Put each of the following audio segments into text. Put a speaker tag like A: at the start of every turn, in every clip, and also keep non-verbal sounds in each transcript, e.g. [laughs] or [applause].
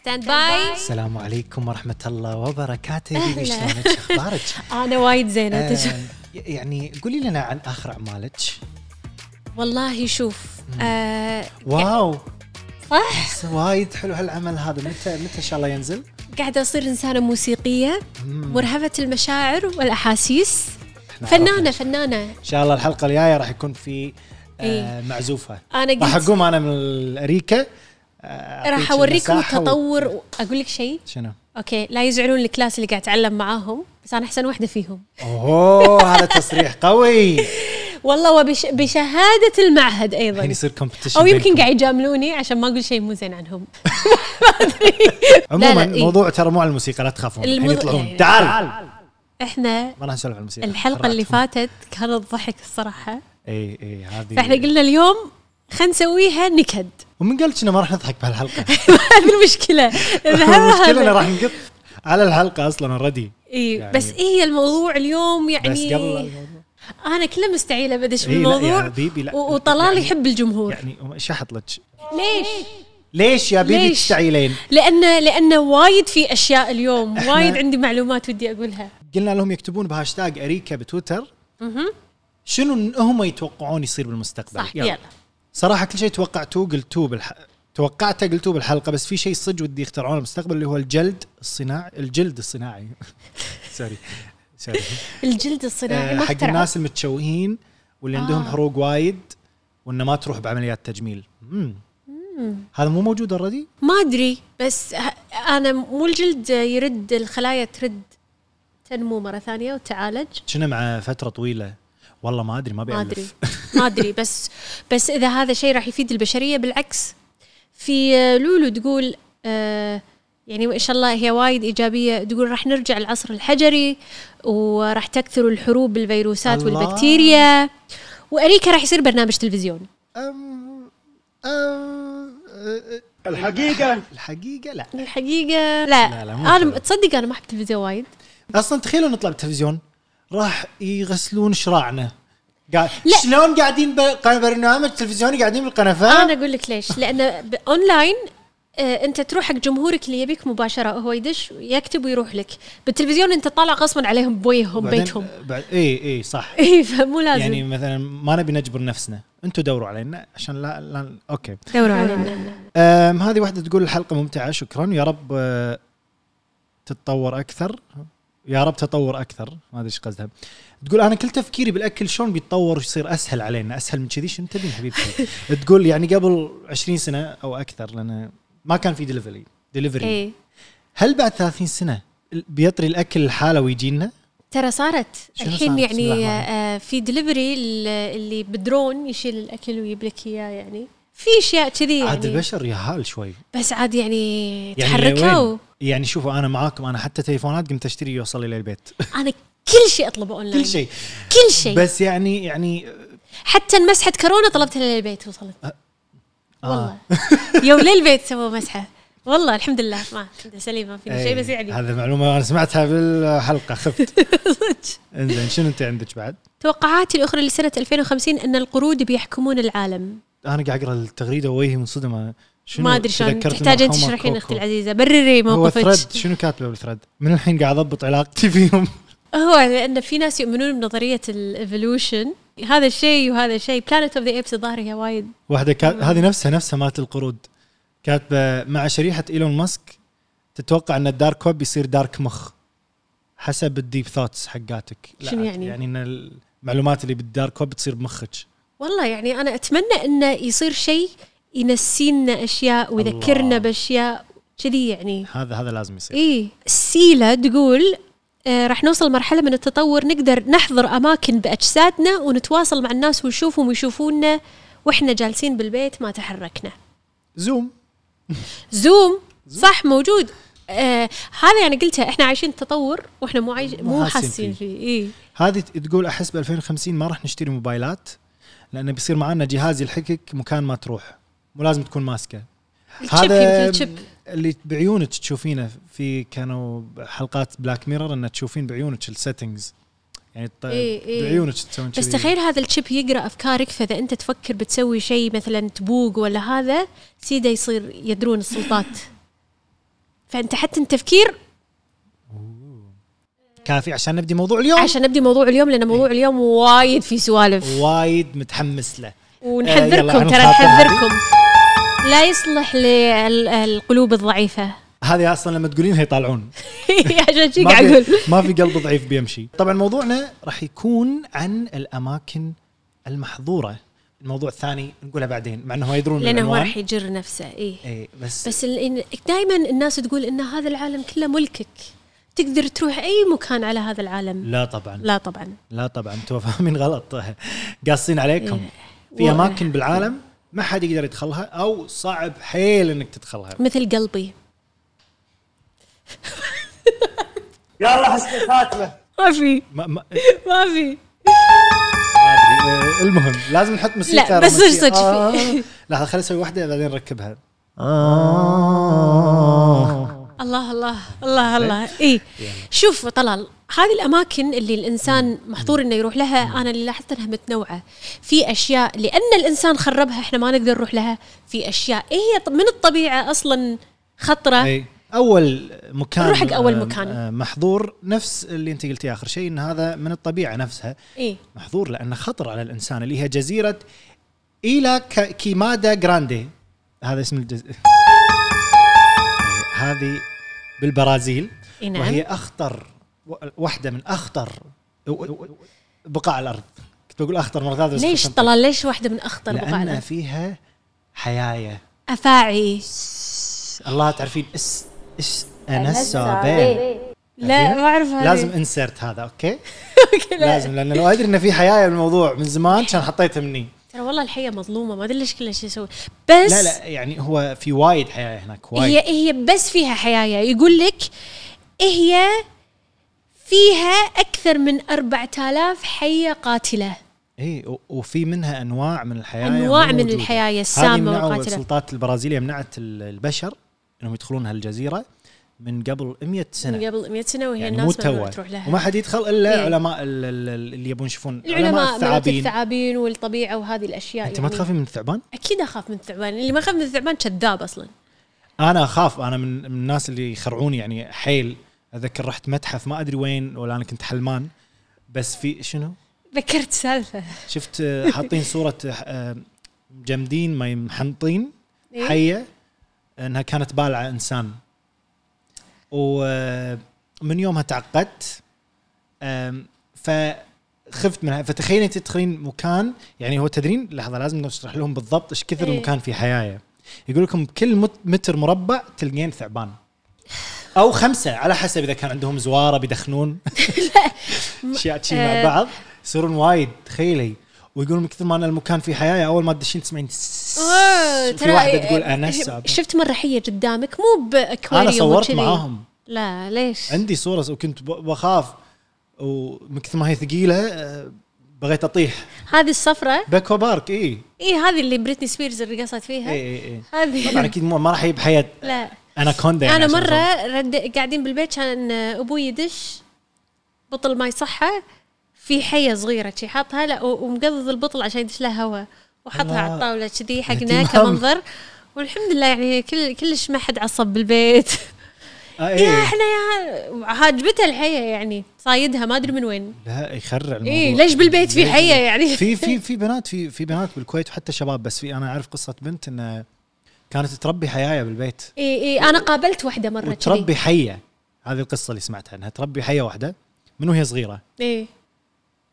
A: ستاند باي
B: السلام عليكم ورحمة الله وبركاته بيبي شلونك شو اخبارك؟
A: [laughs] انا وايد زينه
B: آه،
A: أنت شو-
B: يعني قولي لنا عن اخر
A: [laughs]
B: اعمالك
A: والله شوف آه
B: واو
A: صح
B: بس وايد حلو هالعمل هذا متى متى ان شاء الله ينزل؟
A: قاعده اصير انسانه موسيقيه
B: مم.
A: مرهفه المشاعر والاحاسيس
B: إحنا
A: فنانه
B: عرفنا.
A: فنانه
B: ان شاء الله الحلقة الجاية راح يكون في آه
A: إيه.
B: معزوفة
A: انا
B: راح
A: قلت
B: اقوم انا من الاريكة آه، أعطيك
A: راح اوريكم
B: المساحة و-
A: التطور و... اقول لك شيء
B: شنو؟
A: اوكي لا يزعلون الكلاس اللي قاعد اتعلم معاهم بس انا احسن واحده فيهم
B: اوه هذا تصريح
A: [laughs]
B: قوي
A: والله وبش... بشهاده المعهد ايضا
B: الحين يعني يصير كومبتيشن
A: او يمكن قاعد يجاملوني عشان ما اقول شيء مو زين عنهم
B: عموما
A: لا لا، إيه.
B: الموضوع ترى مو على الموسيقى لا تخافون الحين
A: الموضوع-
B: يطلعون
A: يعني-
B: تعال
A: احنا
B: ما راح نسولف عن الموسيقى
A: الحلقه اللي فاتت كانت ضحك الصراحه
B: اي اي إيه، هذه
A: فاحنا قلنا اليوم خلينا نسويها [laughs] نكد
B: ومن قال لك انه ما راح نضحك
A: [laughs]
B: [laughs] بهالحلقه
A: هذه
B: [laughs]
A: المشكله
B: المشكله إنه راح نقط على الحلقه اصلا اوريدي
A: اي
B: يعني-
A: بس إيه الموضوع اليوم
B: بس
A: يعني
B: قبل الموضوع
A: انا كله مستعيله بدش
B: إيه، لا، يا
A: بالموضوع
B: حبيبي، لا.
A: و- وطلال
B: يعني-
A: يحب الجمهور
B: يعني شو احط لك؟
A: ليش؟
B: ليش يا بيبي
A: ليش؟
B: تشتعيلين؟
A: لأن لأن وايد في أشياء اليوم
B: إحنا-
A: وايد عندي معلومات ودي أقولها
B: قلنا لهم يكتبون بهاشتاج اريكا بتويتر شنو إن هم يتوقعون يصير بالمستقبل؟
A: صح يلا, يلا.
B: صراحه كل شيء توقعتوه قلتوه بالح... توقعته قلتوه بالحلقه بس في شيء صدق ودي يخترعونه بالمستقبل اللي هو الجلد الصناعي الجلد الصناعي [laughs] سوري سوري
A: الجلد الصناعي
B: آه،
A: ما
B: حق
A: اخترعوه.
B: الناس المتشوهين واللي عندهم
A: آه.
B: حروق وايد وانه ما تروح بعمليات تجميل مم. هذا مو موجود اوريدي؟
A: ما أدري بس ه- أنا مو الجلد يرد الخلايا ترد تنمو مرة ثانية وتعالج
B: كنا مع فتره طويله والله ما ادري
A: ما
B: ما بيعرف [laughs]
A: ادري ما ادري بس بس اذا هذا شيء راح يفيد البشريه بالعكس في آه، لولو تقول آه، يعني وان شاء الله هي وايد ايجابيه تقول راح نرجع العصر الحجري وراح تكثر الحروب بالفيروسات
B: الله.
A: والبكتيريا واريكا راح يصير برنامج تلفزيون
B: الحقيقه الحقيقه لا
A: الحقيقه لا,
B: لا،
A: لا,
B: لا،
A: لا
B: مو
A: انا
B: كذا.
A: تصدق انا ما احب التلفزيون وايد
B: اصلا تخيلوا نطلع بالتلفزيون راح يغسلون شراعنا قاعد
A: لا.
B: شلون قاعدين ب- برنامج تلفزيوني قاعدين بالقنفه
A: انا اقول لك ليش لان ب- اونلاين آه، انت تروح حق جمهورك اللي يبيك مباشره هو يدش يكتب ويروح لك بالتلفزيون انت طالع غصبا عليهم بويهم
B: بعدين-
A: بيتهم
B: بعد اي اي صح
A: اي فمو لازم
B: يعني
A: يعني
B: مثلا ما نبي نجبر نفسنا انتم دوروا علينا عشان لا, لا اوكي
A: دوروا علينا
B: يعني أم هذه واحدة تقول الحلقة ممتعة شكرا يا رب أه، تتطور أكثر يا رب تطور أكثر ما أدري إيش قصدها تقول أنا كل تفكيري بالأكل شلون بيتطور ويصير أسهل علينا أسهل من كذي شنو تبين
A: [laughs]
B: حبيبتي تقول يعني قبل 20 سنة أو أكثر لأن ما كان في دليفري دليفري
A: اي
B: هل بعد 30 سنة ال- بيطري الأكل لحاله ويجينا
A: ترى صارت
B: شنو
A: الحين
B: صارت؟ بسم
A: يعني
B: الله الرحمن
A: آه في دليفري اللي بدرون يشيل الاكل ويجيب لك اياه يعني في اشياء كذي يعني
B: عاد البشر يهال شوي
A: بس عاد يعني
B: يعني
A: تحركها
B: وين؟
A: و...
B: يعني شوفوا أنا معاكم أنا حتى تليفونات قمت أشتري يوصل إلى [laughs] البيت
A: انا كل شيء اطلبه اونلاين
B: كل شيء
A: كل شيء
B: بس يعني يعني
A: حتى مسحه كورونا طلبتها للبيت وصلت
B: آه.
A: والله يوم للبيت سووا مسحه والله الحمد لله ما الحمد لله سليمه ما فيني شيء
B: أي،
A: بس يعني
B: هذا معلومه انا سمعتها بالحلقه
A: [laughs]
B: خفت انزين شنو انت عندك بعد؟
A: توقعاتي الاخرى لسنه 2050 ان القرود بيحكمون العالم
B: انا قاعد اقرا التغريده ووجهي منصدمه شنو
A: ما ادري شلون
B: تذكرت
A: تحتاج انت
B: المرحومة
A: تشرحين
B: كوكو.
A: اختي العزيزه برري
B: هو
A: موقفك
B: ثريد شنو كاتبه بالثريد؟ من الحين قاعد اضبط علاقتي فيهم
A: هو لان في ناس يؤمنون بنظريه الايفولوشن هذا الشيء وهذا الشيء بلانت اوف ذا ايبس الظاهر هي وايد
B: واحده كات...
A: آه.
B: هذه نفسها نفسها مالت القرود كاتبه مع شريحه ايلون ماسك تتوقع ان الدارك ويب يصير دارك مخ حسب الديب ثوتس حقاتك لا،
A: شنو يعني؟
B: يعني ان المعلومات اللي بالدارك ويب تصير بمخك
A: والله يعني انا اتمنى انه يصير شيء ينسينا اشياء
B: الله.
A: ويذكرنا باشياء كذي يعني
B: هذا هذا لازم يصير
A: ايه سيلا تقول آه، راح نوصل مرحلة من التطور نقدر نحضر أماكن بأجسادنا ونتواصل مع الناس ونشوفهم ويشوفونا وإحنا جالسين بالبيت ما تحركنا
B: زوم
A: زوم صح موجود آه هذا يعني قلتها احنا عايشين تطور واحنا مو عايش
B: مو
A: مو
B: حاسين
A: حاسين
B: فيه.
A: فيه إيه. اي
B: هذه تقول احس ب 2050 ما راح نشتري موبايلات لانه بيصير معانا جهاز يلحقك مكان ما تروح مو لازم تكون ماسكه هذا
A: الشيب
B: اللي بعيونك تشوفينه في كانوا حلقات بلاك ميرور ان تشوفين بعيونك السيتنجز يعني الط-
A: إي إي.
B: بعيونك تسوين
A: إيه، بس
B: كذي.
A: تخيل هذا الشيب يقرا افكارك فاذا انت تفكر
B: [laughs]
A: بتسوي شيء مثلا تبوق ولا هذا سيدا يصير يدرون السلطات فانت حتى التفكير
B: كافي عشان نبدي موضوع اليوم
A: عشان نبدي موضوع اليوم لان
B: إيه.
A: موضوع اليوم وايد في سوالف
B: وايد متحمس له آه، يلا،
A: ونحذركم ترى
B: هنخاطر
A: نحذركم لا يصلح للقلوب الضعيفه
B: هذه اصلا لما تقولينها يطالعون
A: [laughs] عشان [laughs] شي
B: ما
A: قاعد
B: في-
A: اقول
B: ما في قلب ضعيف بيمشي طبعا موضوعنا راح يكون عن الاماكن المحظوره الموضوع الثاني نقوله بعدين مع انه هو [laughs] يدرون
A: لانه هو
B: بالعنوان.
A: راح يجر نفسه إيه. اي
B: اي بس,
A: بس دائما الناس تقول ان هذا العالم كله ملكك تقدر تروح اي مكان على هذا العالم
B: لا طبعا
A: لا طبعا
B: لا طبعا انتم [laughs] فاهمين غلط قاصين عليكم في
A: إيه. و-
B: اماكن بالعالم ما حد يقدر يدخلها او صعب حيل انك تدخلها
A: مثل قلبي
C: يلا حسن خاتمه
A: ما في
B: ما ما إيه،
A: ما في
B: ما ادري آه، المهم لازم نحط موسيقى
A: لا، بس
B: رومانسية.
A: صدق- صدق [laughs] في-
B: آه. لحظه خليني اسوي واحده بعدين نركبها
A: الله الله الله الله اي شوف طلال هذه الاماكن اللي الانسان محظور انه يروح لها انا اللي لاحظت انها متنوعه في اشياء لان الانسان خربها احنا ما نقدر نروح لها في اشياء هي من الطبيعه اصلا خطره
B: اي اول إيه. مكان
A: نروح حق أول
B: آه،
A: مكان.
B: آه، محظور نفس اللي انت قلتيه اخر شيء ان هذا من الطبيعه نفسها
A: اي
B: محظور لانه خطر على الانسان اللي هي جزيره ايلا كا- كيمادا جراندي هذا اسم الجزيره هذه بالبرازيل
A: إي نعم.
B: وهي اخطر و- واحده من اخطر و- و- بقاع الارض كنت بقول اخطر مره ثالثه بس
A: ليش
B: كنت-
A: طلال ليش واحده من اخطر بقاع
B: لان
A: الأرض؟
B: فيها حيايه
A: افاعي
B: الله تعرفين اس اس انا السابع
A: إيه. لا ما اعرف هذه.
B: لازم انسرت هذا اوكي
A: [laughs] أوكي، لا.
B: لازم لان لو ادري ان في حيايه بالموضوع من زمان كان حطيته مني
A: ترى والله الحيه مظلومه ما ادري ليش كل شيء يسوي بس
B: لا لا يعني هو في وايد حياه هناك وايد
A: هي هي بس فيها حيايه يقول لك هي فيها اكثر من 4000 حيه قاتله
B: اي إيه، و- وفي منها انواع من الحياه
A: أنواع
B: مو
A: من
B: موجودة.
A: الحياة
B: هذه
A: السامة
B: منعوا
A: والقاتلة.
B: السلطات البرازيليه منعت ال- البشر انهم يدخلون هالجزيره من قبل 100 سنه
A: من قبل 100 سنه وهي
B: يعني مو
A: الناس ما
B: توا
A: تروح تروح لها
B: وما حد يدخل الا
A: إيه.
B: علماء ال- ال- اللي يبون يشوفون
A: العلماء ملك
B: الثعابين
A: الثعابين إيه. والطبيعه وهذه الاشياء
B: انت ما تخافي من الثعبان؟
A: اكيد اخاف من الثعبان اللي ما يخاف من الثعبان كذاب اصلا
B: انا اخاف انا من من الناس اللي يخرعون يعني حيل اذكر رحت متحف ما ادري وين ولا انا كنت حلمان بس في شنو؟
A: ذكرت سالفه
B: شفت آه، حاطين صوره آه، مجمدين ما محنطين
A: إيه؟
B: حيه انها كانت بالعه انسان ومن آه، يومها تعقدت آم، فخفت منها فتخيلي انت تدخلين مكان يعني هو تدرين لحظه لازم نشرح لهم بالضبط ايش كثر
A: إيه.
B: المكان فيه حيايه يقول لكم كل مت- متر مربع تلقين ثعبان او خمسه على حسب اذا كان عندهم زواره
A: [laughs]
B: بيدخنون اشياء [laughs] شي مع
A: آه.
B: بعض يصيرون وايد تخيلي ويقولون من كثر ما ان المكان فيه حياه اول ما تدشين تسمعين
A: أوه، إيه،
B: في واحده تقول انا السابع
A: شفت مره حيه قدامك مو باكواريوم
B: انا صورت
A: وكذي.
B: معاهم
A: لا ليش
B: عندي صوره وكنت ب- بخاف ومن كثر ما هي ثقيله آه، بغيت اطيح
A: هذه الصفرة
B: باكوا بارك اي
A: اي هذه اللي بريتني سبيرز رقصت فيها
B: اي اي طبعا
A: هذه
B: اكيد إيه. مو- ما راح يجيب حياه
A: لا
B: اناكوندا يعني
A: انا
B: عشان أصور.
A: مره رد قاعدين بالبيت كان ابوي يدش بطل ماي صحه في حيه صغيره شي حاطها لا و- ومقضض البطل عشان يدش لها هواء وحطها
B: الله. يعني
A: على الطاوله كذي حقنا
B: اهتمام.
A: كمنظر والحمد لله يعني كل كلش ما حد عصب بالبيت
B: آه،
A: يا
B: إيه.
A: احنا يا عاجبتها الحيه يعني صايدها ما ادري من وين
B: لا يخرع الموضوع
A: اي إيه، ليش بالبيت في
B: ليش-
A: حيه يعني [laughs]
B: في في في بنات في في بنات بالكويت وحتى شباب بس في انا اعرف قصه بنت انها كانت تربي حيايه بالبيت
A: اي اي انا إيه، قابلت واحده مره
B: وتربي حيه هذه القصه اللي سمعتها انها تربي حيه واحده من وهي صغيره
A: اي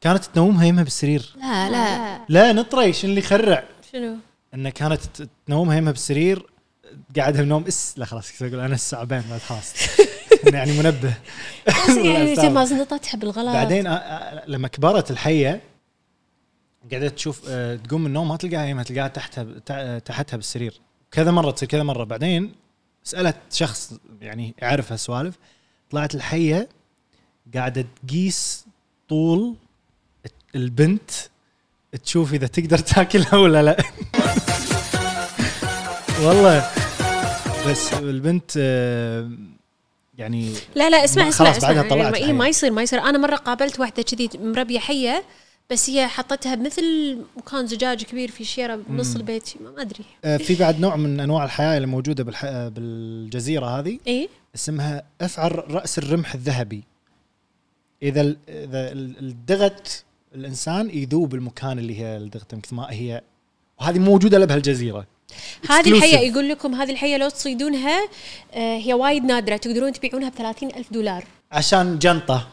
B: كانت تنومها يمها بالسرير
A: لا لا
B: لا نطري شنو اللي يخرع [laughs]
A: شنو
B: انها كانت ت- تنومها يمها بالسرير قاعدها بنوم اس لا خلاص كنت اقول انا الثعبان بعد خلاص إنه [laughs] يعني منبه
A: بس يعني
B: والأستاذ.
A: ما زنطتها بالغلط
B: بعدين أ- أ- لما كبرت الحيه قعدت تشوف أه، تقوم من النوم ما تلقاها يمها تلقاها تحتها ب- تع- تحتها بالسرير كذا مره تصير كذا مره بعدين سالت شخص يعني يعرف هالسوالف طلعت الحيه قاعده تقيس طول البنت تشوف اذا تقدر تاكلها ولا لا [laughs] والله بس البنت أه، يعني
A: لا لا اسمع
B: ما-
A: اسمع
B: خلاص
A: اسمع
B: بعدها طلعت
A: إيه،
B: الحية.
A: ما يصير ما يصير انا مره قابلت واحده كذي مربيه حيه بس هي حطتها بمثل مكان زجاج كبير في شيره بنص البيت ما ما ادري
B: آه، في بعد نوع من انواع الحياه اللي موجوده بالح... آه، بالجزيره هذه
A: اي
B: اسمها افعل راس الرمح الذهبي اذا ال- اذا ال- الدغت الانسان يذوب المكان اللي هي الدغت مثل ما هي وهذه موجوده لها بهالجزيره
A: هذه
B: Exclusive.
A: الحيه يقول لكم هذه الحيه لو تصيدونها آه، هي وايد نادره تقدرون تبيعونها ب 30 ألف دولار
B: عشان جنطه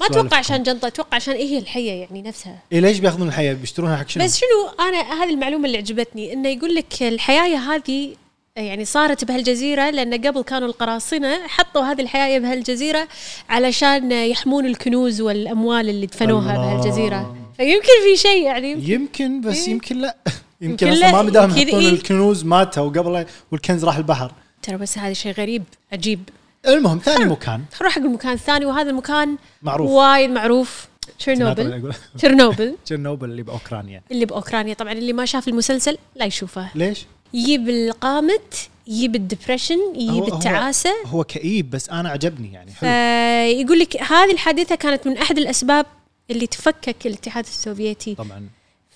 A: ما
B: سوالف.
A: اتوقع عشان جنطه اتوقع عشان إيه هي الحيه يعني نفسها
B: إيه ليش بياخذون الحياه بيشترونها حق شنو؟
A: بس شنو انا هذه المعلومه اللي عجبتني انه يقول لك الحيايه هذه يعني صارت بهالجزيره لان قبل كانوا القراصنه حطوا هذه الحيايه بهالجزيره علشان يحمون الكنوز والاموال اللي دفنوها
B: الله.
A: بهالجزيره فيمكن في شيء يعني
B: يمكن بس
A: إيه.
B: يمكن لا [laughs] يمكن
A: يمكن
B: اصلا
A: لا،
B: ما مداهم
A: يمكن
B: يحطون
A: إيه.
B: الكنوز ماتوا قبل والكنز راح البحر
A: ترى بس هذا شيء غريب عجيب
B: المهم ثاني مكان
A: نروح حق المكان الثاني وهذا المكان
B: معروف.
A: وايد معروف تشيرنوبل
B: أقول-
A: تشيرنوبل
B: [laughs] تشيرنوبل اللي باوكرانيا
A: اللي باوكرانيا طبعا اللي ما شاف المسلسل لا يشوفه
B: ليش؟
A: يجيب القامت يجيب الدبرشن
B: هو-
A: يجيب
B: هو-
A: التعاسه
B: هو كئيب بس انا عجبني يعني حلو
A: آه، يقول لك هذه الحادثه كانت من احد الاسباب اللي تفكك الاتحاد السوفيتي
B: طبعا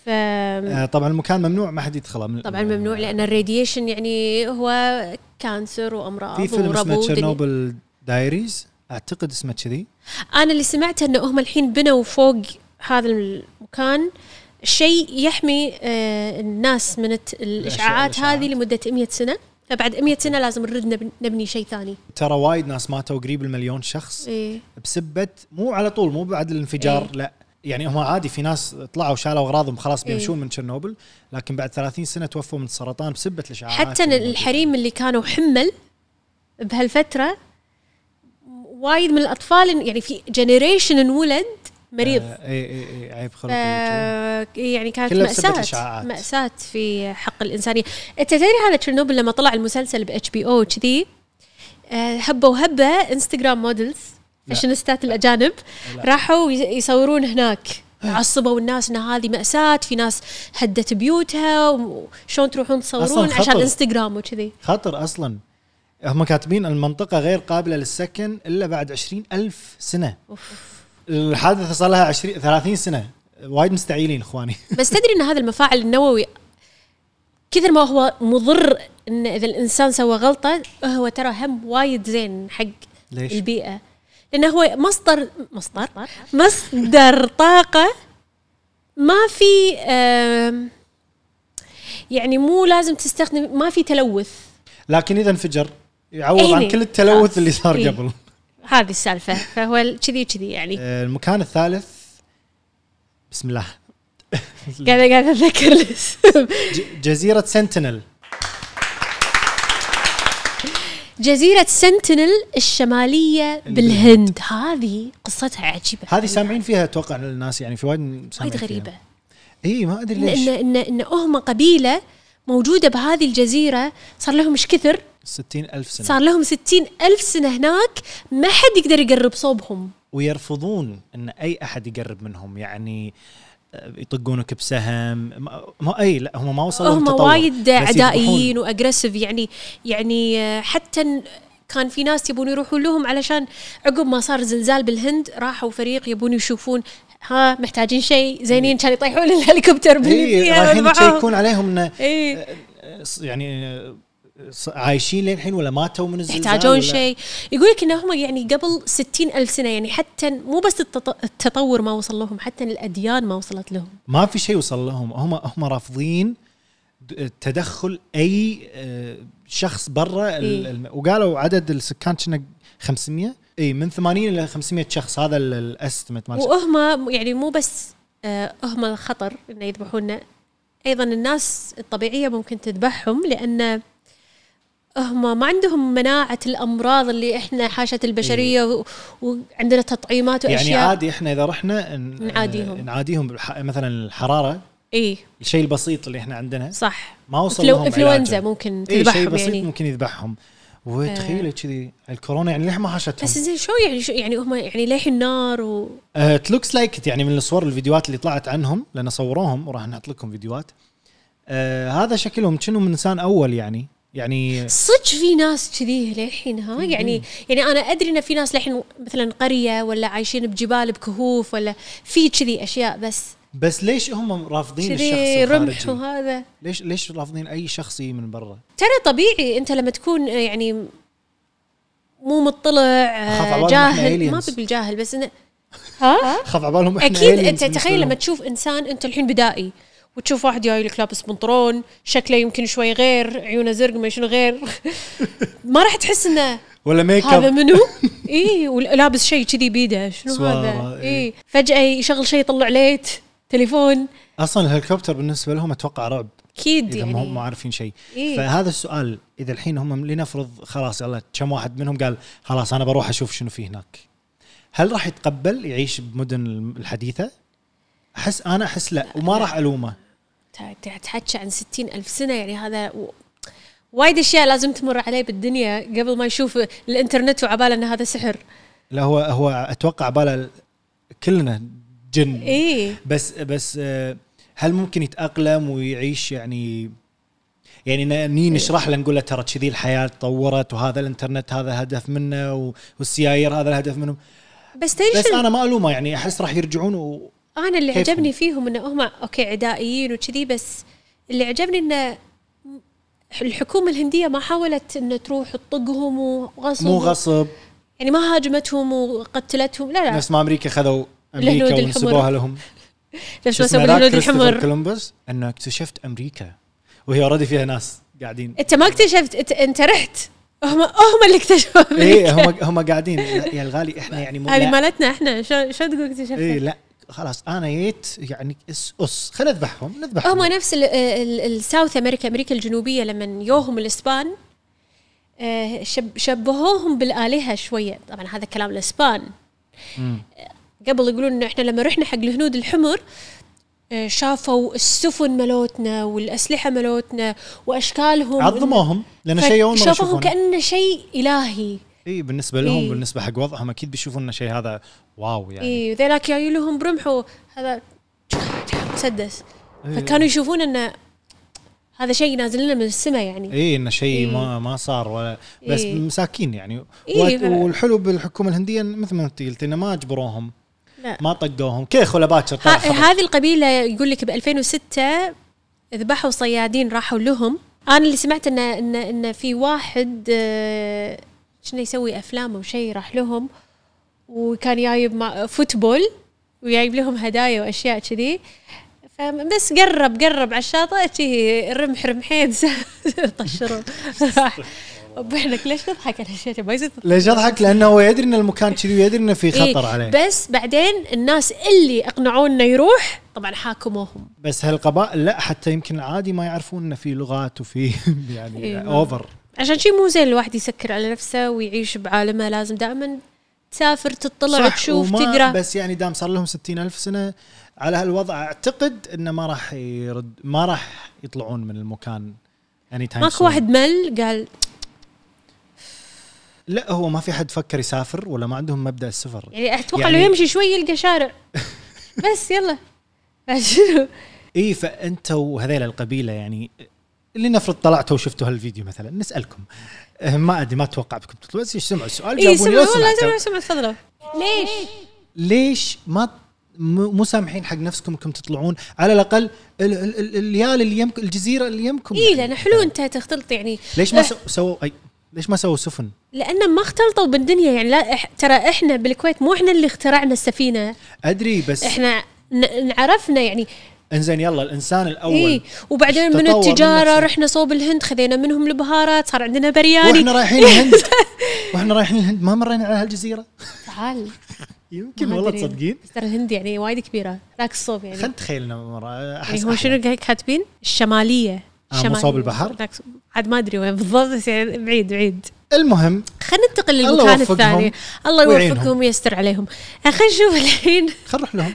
A: ف
B: آه، طبعا المكان ممنوع ما حد يدخله من-
A: طبعا ممنوع لان الراديشن يعني هو كانسر وامراض
B: في فيلم اسمه
A: وربو ودنيا.
B: تشيرنوبل دايريز اعتقد اسمه كذي
A: انا اللي سمعته انه هم الحين بنوا فوق هذا المكان شيء يحمي آه، الناس من الت- الاشعاعات
B: الإشعاعات.
A: هذه لمده 100 سنه فبعد 100 سنه لازم نرد نب- نبني شيء ثاني
B: ترى وايد ناس ماتوا قريب المليون شخص
A: إيه.
B: بسبه مو على طول مو بعد الانفجار
A: إيه.
B: لا يعني هم عادي في ناس طلعوا شالوا اغراضهم خلاص
A: إيه.
B: بيمشون من تشيرنوبل لكن بعد 30 سنه توفوا من السرطان بسبه الاشعاعات
A: حتى
B: الموجودة.
A: الحريم اللي كانوا حمل بهالفتره وايد من الاطفال يعني في جنريشن انولد مريض آه،
B: آه، اي اي اي عيب
A: ف-
B: خلق وجهه.
A: يعني كانت
B: كلها بسبب
A: مأساة
B: الإشعاعات.
A: مأساة في حق الإنسانية أنت تدري هذا تشيرنوبل لما طلع المسلسل ب اتش بي او كذي آه، هبة وهبة انستغرام مودلز
B: لا.
A: فاشينيستات الأجانب
B: لا.
A: راحوا يز- يصورون هناك عصبوا الناس ان هذه مأساة في ناس هدت بيوتها وشلون تروحون تصورون
B: خطر.
A: عشان انستغرام وكذي
B: خطر اصلا هم كاتبين المنطقه غير قابله للسكن الا بعد 20 الف سنه
A: أوف.
B: الحادثه صار لها 20 30 سنه وايد مستعيلين اخواني
A: بس تدري ان هذا المفاعل النووي كثر ما هو مضر ان اذا الانسان سوى غلطه هو ترى هم وايد زين حق
B: [laughs] ليش؟
A: البيئه لانه هو مصدر مصدر مصدر طاقه ما في آم، يعني مو لازم تستخدم ما في تلوث
B: لكن اذا انفجر يعوض عن
A: إيه.
B: كل التلوث اللي
A: إيه.
B: صار قبل
A: هذه السالفه فهو كذي كذي يعني
B: آه، المكان الثالث بسم الله
A: قاعده قاعده اتذكر الاسم
B: ج- جزيره سنتينل
A: جزيرة سنتينل الشمالية بالهند هذه قصتها عجيبة
B: هذه سامعين فيها اتوقع الناس يعني في وايد
A: وايد غريبة
B: اي ما ادري
A: إن إن
B: ليش
A: إن إن هم قبيلة موجودة بهذه الجزيرة صار لهم مش كثر
B: 60 الف سنه
A: صار لهم ستين ألف سنة هناك ما حد يقدر يقرب صوبهم
B: ويرفضون ان اي احد يقرب منهم يعني آه، يطقونك بسهم ما, ما اي لا هم ما وصلوا
A: هم
B: للتطور،
A: وايد
B: بس يذبحون.
A: عدائيين واجريسيف يعني يعني آه، حتى ن- كان في ناس يبون يروحون لهم علشان عقب ما صار زلزال بالهند راحوا فريق يبون يشوفون ها محتاجين شيء زينين كان يطيحون الهليكوبتر إيه، باللي [laughs]
B: اي
A: فيها
B: إيه، رايحين
A: معاهم.
B: يشيكون عليهم انه
A: اي
B: ص- يعني آه، ص- عايشين للحين ولا ماتوا من الزلزال
A: يحتاجون
B: ولا-
A: شيء يقول لك انهم يعني قبل ستين ألف سنة يعني حتى مو بس التط- التطور ما وصل لهم حتى الأديان ما وصلت لهم
B: ما في شيء وصل لهم هم هم رافضين د- تدخل اي آه، شخص برا ال-
A: إيه.
B: الم- وقالوا عدد السكان كنا 500 اي من 80 الى 500 شخص هذا الاستمت مال
A: وهم يعني مو بس آه، هم الخطر انه يذبحونا ايضا الناس الطبيعيه ممكن تذبحهم لان هم ما عندهم مناعه الامراض اللي احنا حاشت البشريه و- وعندنا تطعيمات واشياء
B: إيه. يعني عادي احنا اذا رحنا ن-
A: نعاديهم.
B: نعاديهم بالح- مثلا الحراره
A: اي
B: الشيء البسيط اللي احنا عندنا
A: إيه، صح
B: ما وصل
A: فلو-
B: لهم علاجه.
A: انفلونزا ممكن
B: إيه، شيء
A: تذبحهم
B: بسيط
A: يعني آه.
B: ممكن يذبحهم وتخيل كذي الكورونا يعني ليه ما حاشتهم
A: بس زين شو يعني شو يعني هم يعني للحين نار و
B: ات لوكس لايك يعني من الصور الفيديوهات اللي طلعت عنهم لان صوروهم وراح نحط لكم فيديوهات آه هذا شكلهم كأنه من انسان اول يعني يعني
A: صدق في ناس كذي للحين ها يعني يعني انا ادري ان في ناس للحين مثلا قريه ولا عايشين بجبال بكهوف ولا في كذي اشياء بس
B: بس ليش هم رافضين
A: كذي
B: الشخص
A: رمح
B: الخارجي
A: وهذا
B: ليش ليش رافضين اي شخص يجي من برا
A: ترى طبيعي انت لما تكون آه، يعني مو مطلع آه،
B: أخاف عبالهم
A: جاهل
B: إحنا
A: ما
B: aliens.
A: بقول جاهل بس انه ها
B: خاف على بالهم إحنا
A: اكيد
B: aliens
A: انت
B: بالنسبة
A: تخيل
B: لهم.
A: لما تشوف انسان انت الحين بدائي وتشوف واحد جاي لك لابس بنطلون شكله يمكن شوي غير عيونه زرق ما شنو غير [laughs] ما راح تحس انه
B: ولا ميك
A: هذا
B: اب [laughs]
A: منو؟ اي ولابس شيء كذي بيده شنو هذا؟
B: سوارة، إي.
A: اي فجأة يشغل شيء يطلع ليت تليفون
B: اصلا الهليكوبتر بالنسبه لهم اتوقع رعب
A: اكيد
B: اذا ما هم ما
A: يعني
B: عارفين شيء
A: إيه.
B: فهذا السؤال اذا الحين هم لنفرض خلاص يلا كم واحد منهم قال خلاص انا بروح اشوف شنو في هناك هل راح يتقبل يعيش بمدن الحديثه احس انا احس لا وما راح الومه
A: ت- تحكي عن ستين ألف سنة يعني هذا و- وايد اشياء لازم تمر عليه بالدنيا قبل ما يشوف الانترنت وعباله ان هذا سحر
B: لا هو هو اتوقع باله كلنا جن
A: اي
B: بس بس آه، هل ممكن يتاقلم ويعيش يعني يعني ن- ني
A: إيه.
B: نشرح له نقول له ترى كذي الحياه تطورت وهذا الانترنت هذا الهدف منه و- والسيايير هذا الهدف منهم
A: بس تدري
B: بس
A: شنو؟
B: انا ما الومه يعني احس راح يرجعون و...
A: انا اللي
B: كيفهم؟
A: عجبني فيهم انه هم اوكي عدائيين وكذي بس اللي عجبني انه الحكومه الهنديه ما حاولت انه تروح تطقهم وغصب
B: مو غصب
A: يعني ما هاجمتهم وقتلتهم لا لا
B: نفس ما امريكا خذوا
A: الهنود
B: امريكا
A: الحمر.
B: ونسبوها لهم
A: ليش
B: شو
A: ما
B: اسمه
A: سووا
B: ذاك
A: الهنود
B: كريستوفر
A: الحمر
B: كولومبوس انه اكتشفت امريكا وهي اوريدي فيها ناس قاعدين
A: انت ما اكتشفت انت, انت رحت هم هم اللي اكتشفوا
B: ايه
A: امريكا
B: هم هم قاعدين لا، يا الغالي احنا يعني مو
A: إيه، هذه
B: لا.
A: مالتنا احنا شو شو تقول
B: ايه
A: اكتشفتها؟
B: لا خلاص انا جيت يعني اس اس خلينا نذبحهم نذبحهم
A: هم نفس ال- ال- الساوث امريكا امريكا الجنوبيه لما يوهم الاسبان آه، شب- شبهوهم بالالهه شويه طبعا هذا كلام الاسبان
B: مم.
A: قبل يقولون انه احنا لما رحنا حق الهنود الحمر آه، شافوا السفن ملوتنا والاسلحه ملوتنا واشكالهم
B: عظموهم لان شيء اول مره
A: شافوهم
B: يشوفونه
A: كانه شيء الهي
B: اي بالنسبه لهم
A: إيه.
B: بالنسبه حق وضعهم اكيد بيشوفون إن شيء هذا واو يعني
A: اي ذيلاك جاي لهم برمحه هذا مسدس
B: إيه.
A: فكانوا يشوفون انه هذا شيء نازل لنا من السماء يعني
B: اي انه شيء
A: إيه.
B: ما ما صار ولا بس
A: إيه.
B: مساكين يعني
A: إيه،
B: وال-
A: فعلا.
B: والحلو بالحكومه الهنديه إن مثل ما انت قلت انه ما اجبروهم
A: لا
B: ما طقوهم كيخ ولا باكر طلع
A: ه-
B: خبر.
A: هذه القبيله يقول لك ب 2006 ذبحوا صيادين راحوا لهم انا اللي سمعت ان ان ان في واحد آه، شنو يسوي افلام او شيء راح لهم وكان جايب مع فوتبول وجايب لهم هدايا واشياء كذي فبس قرب قرب على الشاطئ شي رمح رمحين [laughs] طشروا ابو حنك ليش تضحك على الشيء ما يصير
B: ليش اضحك؟ لانه هو يدري ان المكان كذي ويدري انه في خطر
A: إيه،
B: عليه
A: بس بعدين الناس اللي اقنعوه انه يروح طبعا حاكموهم
B: بس هالقبائل لا حتى يمكن عادي ما يعرفون انه في لغات وفي [laughs] يعني
A: إيه، ما-
B: اوفر
A: عشان شي مو زين الواحد يسكر على نفسه ويعيش بعالمه لازم دائما تسافر تطلع تشوف
B: وما-
A: تقرا
B: بس يعني دام صار لهم ستين ألف سنة على هالوضع أعتقد أنه ما راح يرد ما راح يطلعون من المكان اني تايم
A: ماكو واحد مل قال
B: لا هو ما في حد فكر يسافر ولا ما عندهم مبدأ السفر
A: يعني اتوقع
B: يعني-
A: لو يمشي شوي يلقى
B: [laughs]
A: شارع بس يلا شنو
B: اي فانت وهذيل القبيله يعني اللي نفرض طلعتوا وشفتوا هالفيديو مثلا نسالكم أه، ما ادري ما اتوقع بكم تطلعوا بس سمعوا السؤال
A: اي
B: جاوبوني
A: إيه، سمع
B: لو
A: والله سمع
B: سمعتوا.
A: سمع تفضلوا ليش؟
B: ليش ما م- مو سامحين حق نفسكم انكم تطلعون على الاقل ال- ال- ال- اليال اللي يمكم الجزيره اللي يمكم يعني.
A: اي لانه إيه، حلو انت تختلط يعني
B: ليش ما
A: إح-
B: سو- سووا اي ليش ما سووا سفن؟
A: لانه ما اختلطوا بالدنيا يعني لا إح... ترى احنا بالكويت مو احنا اللي اخترعنا السفينه
B: ادري بس
A: احنا ن- عرفنا يعني
B: انزين يلا الانسان الاول
A: اي
B: إيه؟
A: وبعدين من
B: تطور من
A: التجاره
B: نفسه.
A: رحنا صوب الهند خذينا منهم البهارات صار عندنا برياني
B: واحنا رايحين
A: [laughs]
B: الهند واحنا رايحين الهند ما مرينا على هالجزيره
A: تعال
B: يمكن
A: ما
B: والله
A: أدري.
B: تصدقين
A: بس ترى الهند يعني وايد كبيره ذاك الصوب يعني
B: خلينا نتخيلنا مره
A: يعني
B: احس
A: هو شنو قاعد كاتبين؟ الشماليه
B: آه، مو صوب البحر؟
A: ذاك صوب- عاد ما ادري وين بالضبط بس يعني بعيد بعيد
B: المهم
A: خلينا ننتقل
B: الله
A: للمكان
B: يوفقهم
A: الثاني الله
B: ويعينهم.
A: يوفقهم ويستر عليهم خلينا نشوف الحين
B: خلينا
A: [laughs]
B: نروح لهم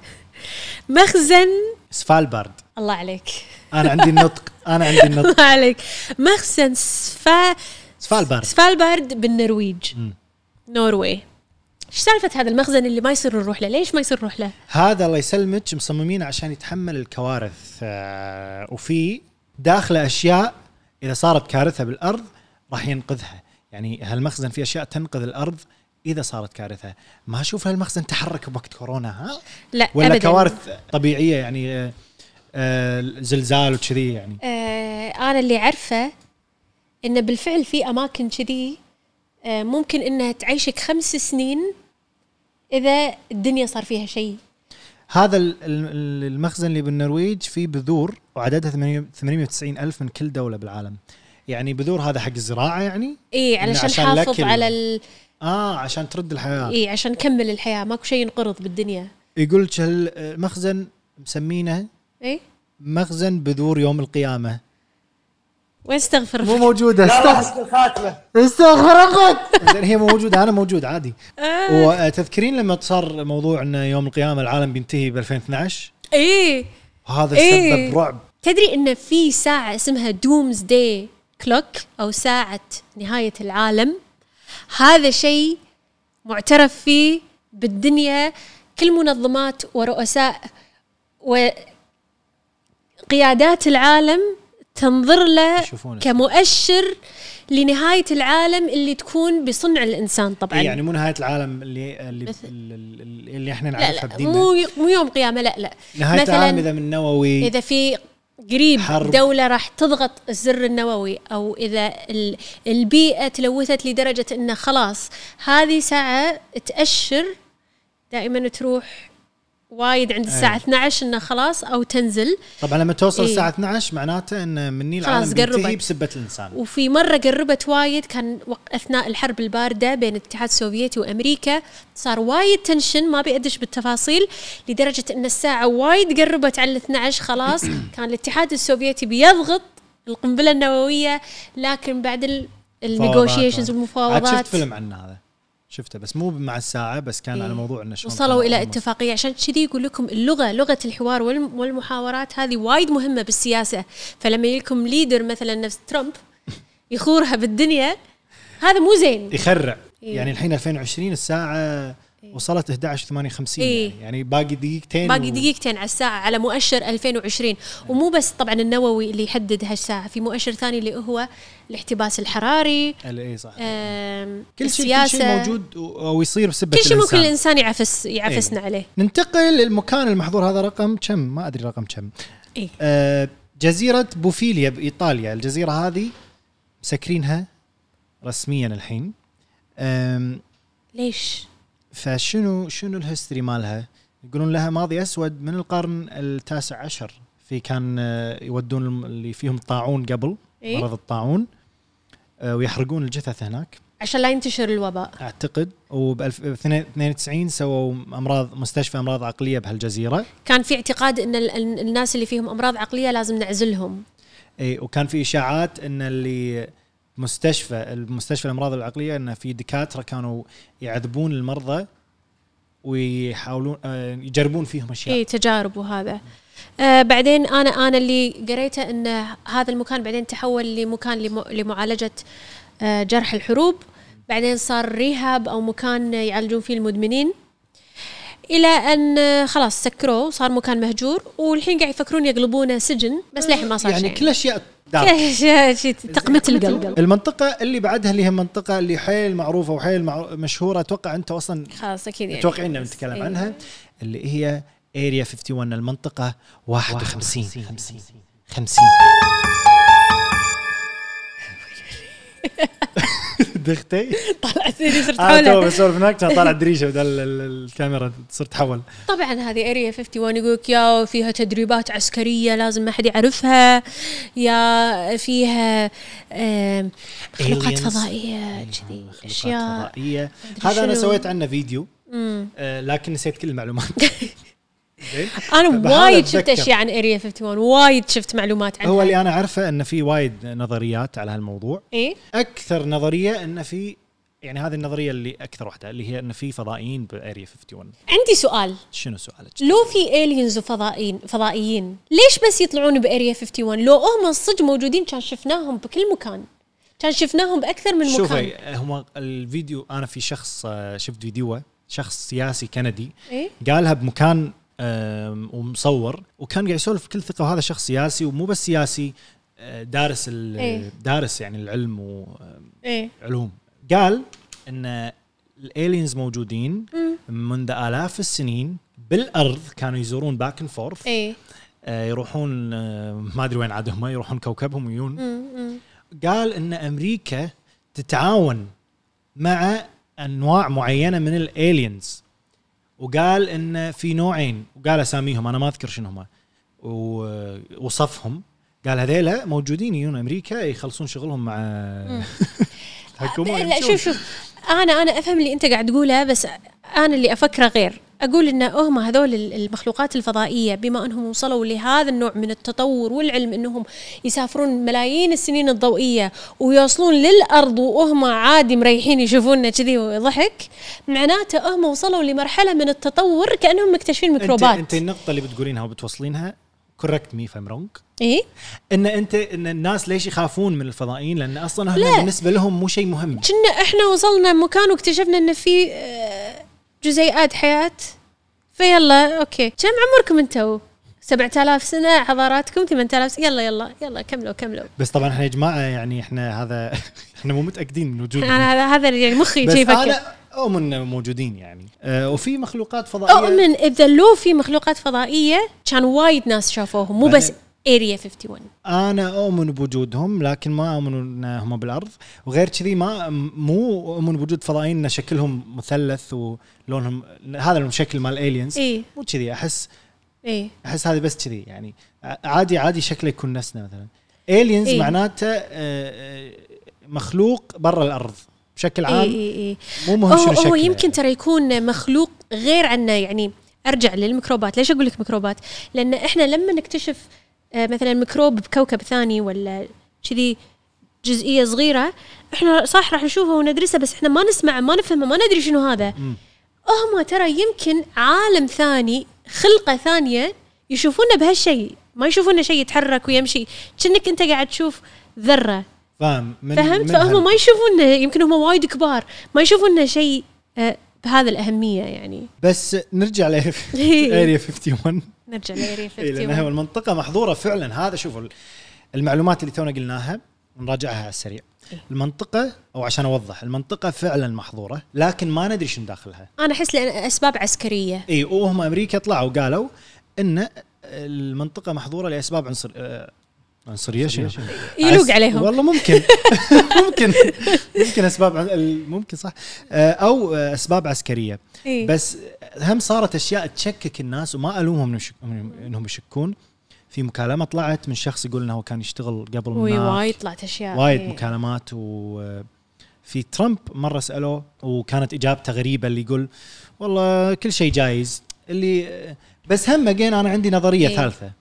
A: مخزن
B: سفالبارد
A: الله عليك
B: انا عندي النطق انا عندي
A: [laughs]
B: النطق
A: الله عليك مخزن سفا
B: سفالبارد
A: سفالبارد بالنرويج
B: مم.
A: نوروي ايش سالفه هذا المخزن اللي ما يصير نروح له ليش ما يصير نروح له
B: هذا الله يسلمك مصممين عشان يتحمل الكوارث آه، وفي داخله اشياء اذا صارت كارثه بالارض راح ينقذها يعني هالمخزن فيه اشياء تنقذ الارض اذا صارت كارثه ما اشوف هالمخزن تحرك بوقت كورونا ها
A: لا
B: ولا
A: أبداً.
B: كوارث طبيعيه يعني آه، آه، زلزال وكذي يعني
A: آه انا اللي عارفه انه بالفعل في اماكن كذي آه، ممكن انها تعيشك خمس سنين اذا الدنيا صار فيها شيء
B: هذا ال- ال- المخزن اللي بالنرويج فيه بذور وعددها 800 890 ألف من كل دولة بالعالم يعني بذور هذا حق الزراعة يعني
A: اي
B: إنه
A: إيه، علشان
B: عشان
A: حافظ
B: الأكل.
A: على ال...
B: آه عشان ترد الحياة
A: اي عشان نكمل الحياه ماكو شيء ينقرض بالدنيا
B: يقول لك المخزن مسمينه
A: اي
B: مخزن بذور يوم القيامة
A: واستغفر
B: مو موجودة
C: يلا
B: استغفر
C: حسن الخاتمه
B: استغفر زين هي موجودة أنا موجود عادي
A: آه.
B: وتذكرين لما صار موضوع أن يوم القيامة العالم بينتهي ب 2012
A: اي
B: وهذا
A: إيه.
B: سبب رعب
A: تدري ان في ساعه اسمها دومز داي كلوك او ساعه نهايه العالم هذا شيء معترف فيه بالدنيا كل منظمات ورؤساء وقيادات العالم تنظر له
B: يشوفونه.
A: كمؤشر لنهايه العالم اللي تكون بصنع الانسان طبعا
B: إيه يعني مو نهاية العالم اللي اللي اللي, اللي احنا
A: لا
B: نعرفها
A: لا
B: بديننا
A: مو مو يوم قيامه لا لا
B: نهاية العالم إذا من نووي
A: اذا في قريب
B: حرب.
A: حرب. دولة راح تضغط الزر النووي او اذا ال- البيئة تلوثت لدرجة انه خلاص هذه ساعة تأشر دائما تروح وايد عند الساعة
B: أي.
A: 12 انه خلاص او تنزل
B: طبعا لما توصل
A: إيه.
B: الساعة 12 معناته ان مني العالم
A: خلاص قربت.
B: بينتهي بسبة الانسان
A: وفي مرة قربت وايد كان وق- اثناء الحرب الباردة بين الاتحاد السوفيتي وامريكا صار وايد تنشن ما بيأدش بالتفاصيل لدرجة ان الساعة وايد قربت على ال 12
B: [clears throat]
A: خلاص كان الاتحاد السوفيتي بيضغط القنبلة النووية لكن بعد ال النيغوشيشنز
B: عاد شفت
A: والمفاوضات
B: فيلم عن هذا شفته بس مو مع الساعة بس كان
A: إيه.
B: على موضوع انه شلون
A: وصلوا
B: كان
A: الى
B: أول ما-
A: اتفاقيه عشان كذي يقول لكم اللغه لغه الحوار والم- والمحاورات هذه وايد مهمه بالسياسه فلما يجيكم ليدر مثلا نفس ترامب يخورها بالدنيا هذا مو زين
B: يخرع
A: إيه.
B: يعني الحين 2020 الساعة وصلت 11 58
A: إيه.
B: يعني, يعني باقي دقيقتين
A: باقي
B: و-
A: دقيقتين على الساعة على مؤشر 2020 ومو بس طبعا النووي اللي يحدد هالساعة في مؤشر ثاني اللي هو الاحتباس الحراري
B: ال- اي صح
A: آم،
B: كل شيء كل
A: آه، السياسة
B: شيء موجود إيه. و- او يصير بسبة
A: كل شيء ممكن
B: الانسان
A: الإنسان يعفس يعفسنا عليه
B: ننتقل للمكان المحظور هذا رقم كم ما ادري رقم كم
A: إيه.
B: آه، جزيرة بوفيليا بإيطاليا الجزيرة هذه مسكرينها رسميا الحين آم،
A: ليش؟
B: فشنو شنو الهيستوري مالها يقولون لها ماضي أسود من القرن التاسع عشر في كان آه، يودون الم- اللي فيهم طاعون قبل
A: إيه؟
B: مرض الطاعون آه، ويحرقون الجثث هناك
A: عشان لا ينتشر الوباء
B: اعتقد وب 92 سووا امراض مستشفى امراض عقليه بهالجزيره
A: كان في اعتقاد ان ال- ال- الناس اللي فيهم امراض عقليه لازم نعزلهم
B: اي إيه، وكان في اشاعات ان اللي مستشفى المستشفى الامراض العقليه ان في دكاتره كانوا يعذبون المرضى ويحاولون آه، يجربون فيهم اشياء
A: اي إيه، تجارب وهذا آه بعدين انا انا اللي قريته ان هذا المكان بعدين تحول لمكان لم- لمعالجه آه جرح الحروب بعدين صار ريهاب او مكان يعالجون فيه المدمنين الى ان آه، خلاص سكروه صار مكان مهجور والحين قاعد يفكرون يقلبونه سجن بس للحين ما صار
B: يعني
A: شيء
B: كل اشياء دارك.
A: كل [laughs] شيء- شيء تقمه القلقل
B: المنطقه اللي بعدها اللي هي منطقه اللي حيل معروفه وحيل معرو- مشهوره اتوقع انت اصلا
A: خلاص اكيد يعني
B: متوقعين ان نتكلم
A: إيه.
B: عنها اللي هي اريا 51 المنطقه 51 50 50 [laughs] دختي
A: [laughs] [laughs] طلعت إني صرت
B: انا تو
A: حولها
B: بسولف هناك كان طالع الدريشه بدل ال- ال- الكاميرا صرت تحول
A: طبعا هذه اريا 51 يقولك يا فيها تدريبات عسكريه لازم ما حد يعرفها يا فيها آم، مخلوقات
B: Aliens.
A: فضائيه كذي اشياء
B: فضائيه
A: أدري
B: هذا انا
A: شنو.
B: سويت عنه فيديو آه، لكن نسيت كل المعلومات زين؟
A: انا
B: فبهذا
A: وايد شفت
B: أتذكر.
A: اشياء عن اريا 51 وايد شفت معلومات عنها
B: هو اللي انا عارفه انه في وايد نظريات على هالموضوع
A: ايه
B: اكثر نظريه انه في يعني هذه النظريه اللي اكثر واحده اللي هي انه في فضائيين باريا 51
A: عندي سؤال
B: شنو سؤالك؟
A: لو في الينز وفضائيين فضائيين ليش بس يطلعون باريا 51 لو هم صدق موجودين كان شفناهم بكل مكان كان شفناهم باكثر من مكان
B: شوفي هم الفيديو انا في شخص آه، شفت فيديوه شخص سياسي كندي
A: ايه
B: قالها بمكان آم، ومصور وكان قاعد يسولف بكل ثقه وهذا شخص سياسي ومو بس سياسي آه، دارس ال-
A: إيه.
B: دارس يعني العلم وعلوم
A: ايه
B: قال ان الالينز موجودين منذ الاف السنين بالارض كانوا يزورون باك اند فورث
A: ايه
B: يروحون آه، ما ادري وين عاد هم يروحون كوكبهم ويون
A: أمم، أمم.
B: قال ان امريكا تتعاون مع انواع معينه من الالينز وقال ان في نوعين وقال اساميهم انا ما اذكر شنو هم ووصفهم قال هذيلا موجودين يجون امريكا يخلصون شغلهم مع [laughs] الحكومه
A: لا شوف شوف انا انا افهم اللي انت قاعد تقوله بس انا اللي افكره غير اقول ان هم هذول ال- المخلوقات الفضائيه بما انهم وصلوا لهذا النوع من التطور والعلم انهم يسافرون ملايين السنين الضوئيه ويوصلون للارض وهم عادي مريحين يشوفونا كذي وضحك معناته هم وصلوا لمرحله من التطور كانهم مكتشفين ميكروبات
B: انت, انت النقطه اللي بتقولينها وبتوصلينها كوركت مي فام رونج
A: ايه
B: ان انت ان الناس ليش يخافون من الفضائيين لان اصلا هم
A: لا.
B: بالنسبه لهم مو شيء مهم
A: كنا احنا وصلنا مكان واكتشفنا ان في آه، جزيئات حياه فيلا اوكي كم عمركم انتو 7000 سنه حضاراتكم 8000 سنه يلا يلا يلا كملوا كملوا
B: بس طبعا احنا يا جماعه يعني احنا هذا [laughs] احنا مو متاكدين من وجودهم
A: انا هذا هذا يعني مخي
B: بس
A: شي يفكر
B: انا اؤمن إنه موجودين يعني أه وفي مخلوقات فضائيه
A: اؤمن اذا لو في مخلوقات فضائيه كان وايد ناس شافوهم مو بس اريا 51
B: انا اؤمن بوجودهم لكن ما اؤمن انهم بالارض وغير كذي ما مو اؤمن بوجود فضائيين ان شكلهم مثلث ولونهم هذا الشكل مال الالينز
A: اي
B: مو كذي احس
A: اي
B: احس هذه بس كذي يعني ع- عادي عادي شكله يكون نفسنا مثلا الينز
A: إيه.
B: إيه؟ معناته آه، آه، مخلوق برا الارض بشكل
A: اي
B: عام
A: اي اي
B: مو مهم
A: إيه. هو
B: شنو شكله
A: هو يمكن ترى يكون مخلوق غير عنا يعني ارجع للميكروبات ليش اقول لك ميكروبات لان احنا لما نكتشف آه، مثلا ميكروب بكوكب ثاني ولا كذي جزئيه صغيره احنا صح راح نشوفها وندرسها بس احنا ما نسمع ما نفهمه ما ندري شنو هذا
B: مم.
A: هم ترى يمكن عالم ثاني خلقه ثانيه يشوفونا بهالشيء ما يشوفونا شيء يتحرك ويمشي كأنك انت قاعد تشوف ذره
B: فاهم من
A: فهمت
B: من
A: فهم
B: هال-
A: ما يشوفونه يمكن هم وايد كبار ما يشوفونه شيء آه، بهذا الأهمية يعني
B: بس
A: [laughs]
B: نرجع ل
A: إيه.
B: اريا 51
A: نرجع لأريا
B: إيه، لانها
A: 51
B: المنطقه محظوره فعلا هذا شوفوا المعلومات اللي تونا قلناها نراجعها على السريع
A: إيه.
B: المنطقه او عشان اوضح المنطقه فعلا محظوره لكن ما ندري شنو داخلها
A: أنا أحس لأن أسباب عسكرية
B: اي وهم امريكا طلعوا قالوا ان المنطقه محظوره لاسباب عنصر آه، عنصريه شنو؟
A: يلوق
B: عس-
A: عليهم
B: والله
A: [laughs]
B: ممكن [laughs] ممكن ممكن اسباب عن- ال- ممكن صح آه، او آه، اسباب عسكريه
A: إيه.
B: بس هم صارت اشياء تشكك الناس وما الومهم إنهم يشك- انهم يشكون في مكالمه طلعت من شخص يقول انه هو كان يشتغل قبل
A: وي
B: ما
A: وايد طلعت أشياء
B: وايد
A: إيه.
B: مكالمات و آه، في ترامب مره سالوه وكانت اجابته غريبه اللي يقول والله كل شيء جايز اللي آه، بس هم اجين انا عندي نظريه
A: إيه.
B: ثالثه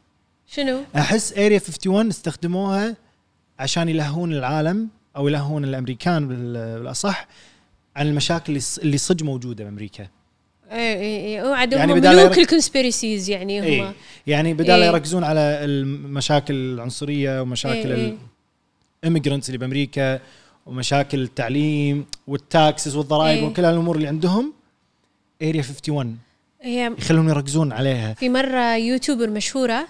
A: شنو؟
B: احس اريا 51 استخدموها عشان يلهون العالم او يلهون الامريكان بال- بالاصح عن المشاكل اللي ص- اللي صدق موجوده بامريكا
A: إي إي إي وعد
B: يعني
A: إيه. هم
B: بدال
A: ملوك
B: يرك-
A: الكونسبيرسيز يعني
B: إيه.
A: هم
B: يعني بدال
A: إيه.
B: إيه؟ يركزون على المشاكل العنصريه ومشاكل
A: إيه، إيه.
B: إيه؟ الاميجرنتس اللي بامريكا ومشاكل التعليم والتاكسس والضرائب
A: إيه.
B: إيه؟ وكل هالامور اللي عندهم اريا 51
A: هي
B: يخلونهم يركزون عليها
A: في مرة يوتيوبر مشهورة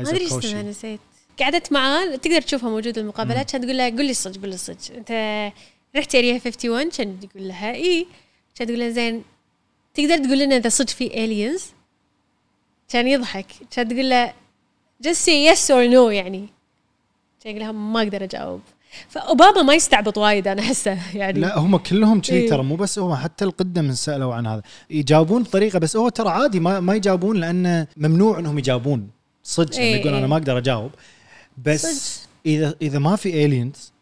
A: ما
B: يصير
A: ادري
B: كوشي.
A: اسمها نسيت قعدت معاه تقدر تشوفها موجوده المقابلات كانت تقول لها قول لي الصج قول لي الصج انت رحت اريا 51 كان تقول لها اي كانت تقول لها زين تقدر تقول لنا اذا صج في الينز كان يضحك كانت تقول له just say yes or no يعني كان يقول لها ما اقدر اجاوب فاوباما ما يستعبط وايد انا احسه يعني
B: لا هم كلهم كذي
A: إيه.
B: ترى مو بس هم حتى القدم من سالوا عن هذا يجاوبون بطريقه بس هو ترى عادي ما, ما يجاوبون لانه ممنوع انهم يجاوبون صدق إيه
A: إيه،
B: يقول
A: إيه.
B: انا ما اقدر اجاوب بس
A: صدق.
B: صدق. اذا اذا ما في الينز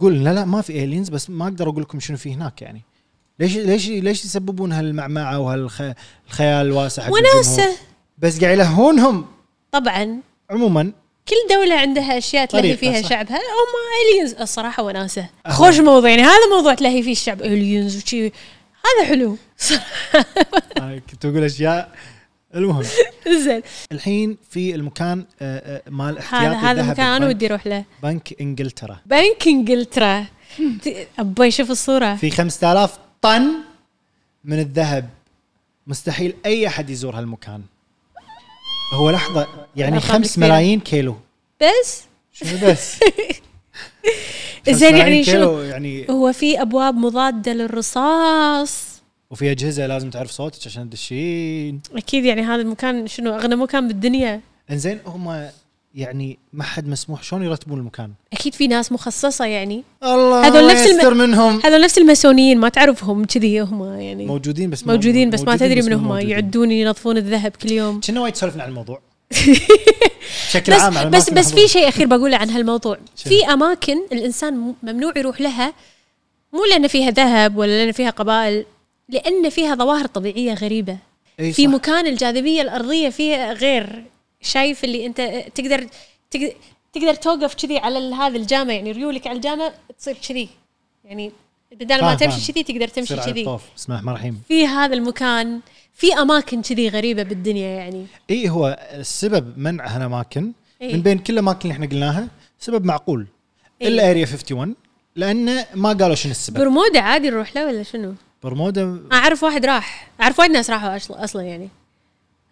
B: قول لا لا ما في الينز بس ما اقدر اقول لكم شنو في هناك يعني ليش ليش ليش يسببون هالمعمعه وهالخيال الواسع حق الجمهور؟
A: وناسه
B: بس قاعد يلهونهم
A: طبعا
B: عموما
A: كل دولة عندها أشياء تلهي
B: طريقة،
A: فيها
B: صح.
A: شعبها هم الينز الصراحة وناسة خوش موضوع يعني هذا موضوع تلهي فيه الشعب الينز وشي هذا حلو
B: [laughs]
A: [laughs]
B: أنا كنت بقول اشياء المهم
A: زين
B: الحين في المكان آه، آه، مال احتياطي
A: هذا هذا
B: الذهبي
A: المكان أنا
B: بنك-
A: ودي أروح له
B: بنك انجلترا
A: بنك
B: [laughs]
A: إنجلترا ت- أبوي شوف الصورة
B: في 5000 طن من الذهب مستحيل اي احد يزور هالمكان هو لحظه يعني
A: أرقام
B: 5
A: كبيرة.
B: ملايين كيلو
A: بس
B: شنو
A: [laughs]
B: بس خمس
A: زين
B: ملايين
A: يعني
B: كيلو
A: شنو
B: يعني
A: هو في أبواب مضادة للرصاص
B: وفي اجهزه لازم تعرف صوتك عشان تدشين
A: أكيد يعني هذا المكان شنو أغنى مكان بالدنيا
B: انزين هم يعني ما حد مسموح شلون يرتبون المكان
A: اكيد في ناس مخصصه يعني
B: الله
A: هذول نفس الم-
B: يستر منهم
A: هذول نفس الماسونيين ما تعرفهم كذي هم يعني
B: موجودين بس ما-
A: موجودين بس ما تدري من
B: مو
A: هم
B: موجودين.
A: يعدون ينظفون الذهب كل يوم
B: كنا وايد سولفنا عن
A: [laughs]
B: الموضوع بشكل
A: بس
B: عام على
A: بس
B: الأماكن
A: بس في شيء اخير بقوله عن هالموضوع
B: شنو؟
A: في اماكن الانسان م- ممنوع يروح لها مو لان فيها ذهب ولا لان فيها قبائل لان فيها ظواهر طبيعيه غريبه
B: إي
A: في
B: إيه، صح.
A: مكان الجاذبيه الارضيه فيها غير شايف اللي انت تقدر تقدر, تقدر توقف كذي على ال- هذا الجامع يعني ريولك على الجامع تصير كذي يعني بدل ما
B: فاهم،
A: تمشي
B: فاهم.
A: كذي تقدر تمشي
B: يصير على
A: كذي
B: الطوف. بسم الله الرحمن الرحيم
A: في هذا المكان في اماكن كذي غريبه بالدنيا يعني
B: اي هو السبب منع هالاماكن
A: إي.
B: من بين كل الاماكن اللي احنا قلناها سبب معقول
A: إي.
B: الا اريا 51 لانه ما قالوا شنو السبب
A: برمودا عادي نروح له ولا شنو؟
B: برمودا
A: اعرف واحد راح اعرف وايد ناس راحوا اصلا اصلا يعني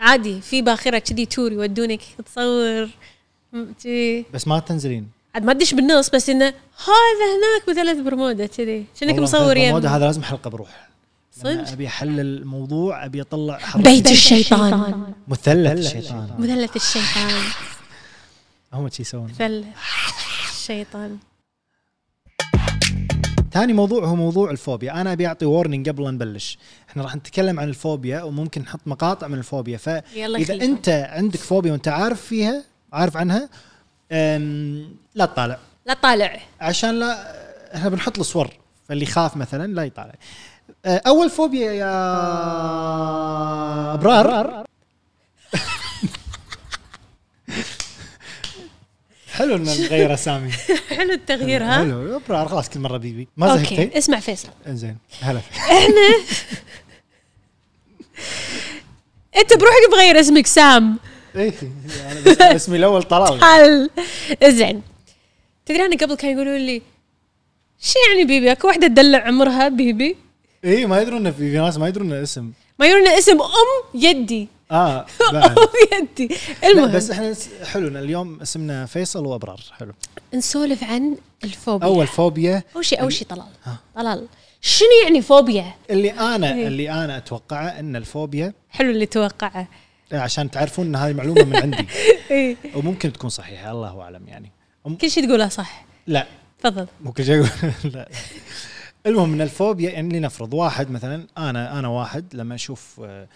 A: عادي في باخره كذي تور يودونك تصور م- كذي
B: بس ما تنزلين
A: عاد ما تدش بالنص بس انه هذا هناك بثلاث برمودا كذي شنك
B: والله
A: مصور
B: مثل برمودا
A: يم
B: هذا لازم حلقه بروح
A: صدق؟
B: صدق ابي احلل الموضوع ابي اطلع حركة.
A: بيت الشيطان
B: مثلث الشيطان
A: مثلث الشيطان
B: هم شي يسوون
A: مثلث الشيطان
B: ثاني موضوع هو موضوع الفوبيا انا ابي اعطي وورنينج قبل لا نبلش احنا راح نتكلم عن الفوبيا وممكن نحط مقاطع من الفوبيا
A: يلا
B: فاذا
A: خلينا.
B: انت عندك فوبيا وانت عارف فيها عارف عنها أم، لا تطالع
A: لا طالع
B: عشان لا احنا بنحط الصور فاللي خاف مثلا لا يطالع أه، اول فوبيا يا ابرار [laughs] حلو ان نغير اسامي
A: حلو التغيير ها
B: حلو ابرار خلاص كل مره بيبي ما زهقتي
A: اوكي اسمع فيصل
B: زين هلا [laughs] فيك
A: انت بروحك بغير اسمك سام
B: ايه انا بس- اسمي الاول طلال
A: حل زين تدري انا قبل كانوا يقولون لي شو يعني بيبي اكو واحده تدلع عمرها بيبي
B: اي إيه، ما يدرون إنه في في ناس ما يدرون إنه اسم
A: ما يقولون اسم ام يدي
B: [laughs] اه
A: ام [laughs]
B: بعد.
A: يدي
B: لا
A: المهم
B: بس احنا نس- حلو إن اليوم اسمنا فيصل وابرار حلو
A: نسولف عن الفوبيا
B: اول فوبيا
A: اول شيء اول شيء طلال طلال شنو يعني فوبيا؟
B: اللي انا اللي انا اتوقعه ان الفوبيا
A: حلو اللي توقعه
B: عشان تعرفون ان هذه معلومه من [laughs] عندي
A: إيه.
B: وممكن تكون صحيحه الله اعلم يعني أم-
A: كل شيء تقوله صح
B: لا
A: تفضل
B: مو كل شيء أقول- [laughs] لا المهم ان الفوبيا يعني لنفرض واحد مثلا انا انا واحد لما اشوف آه،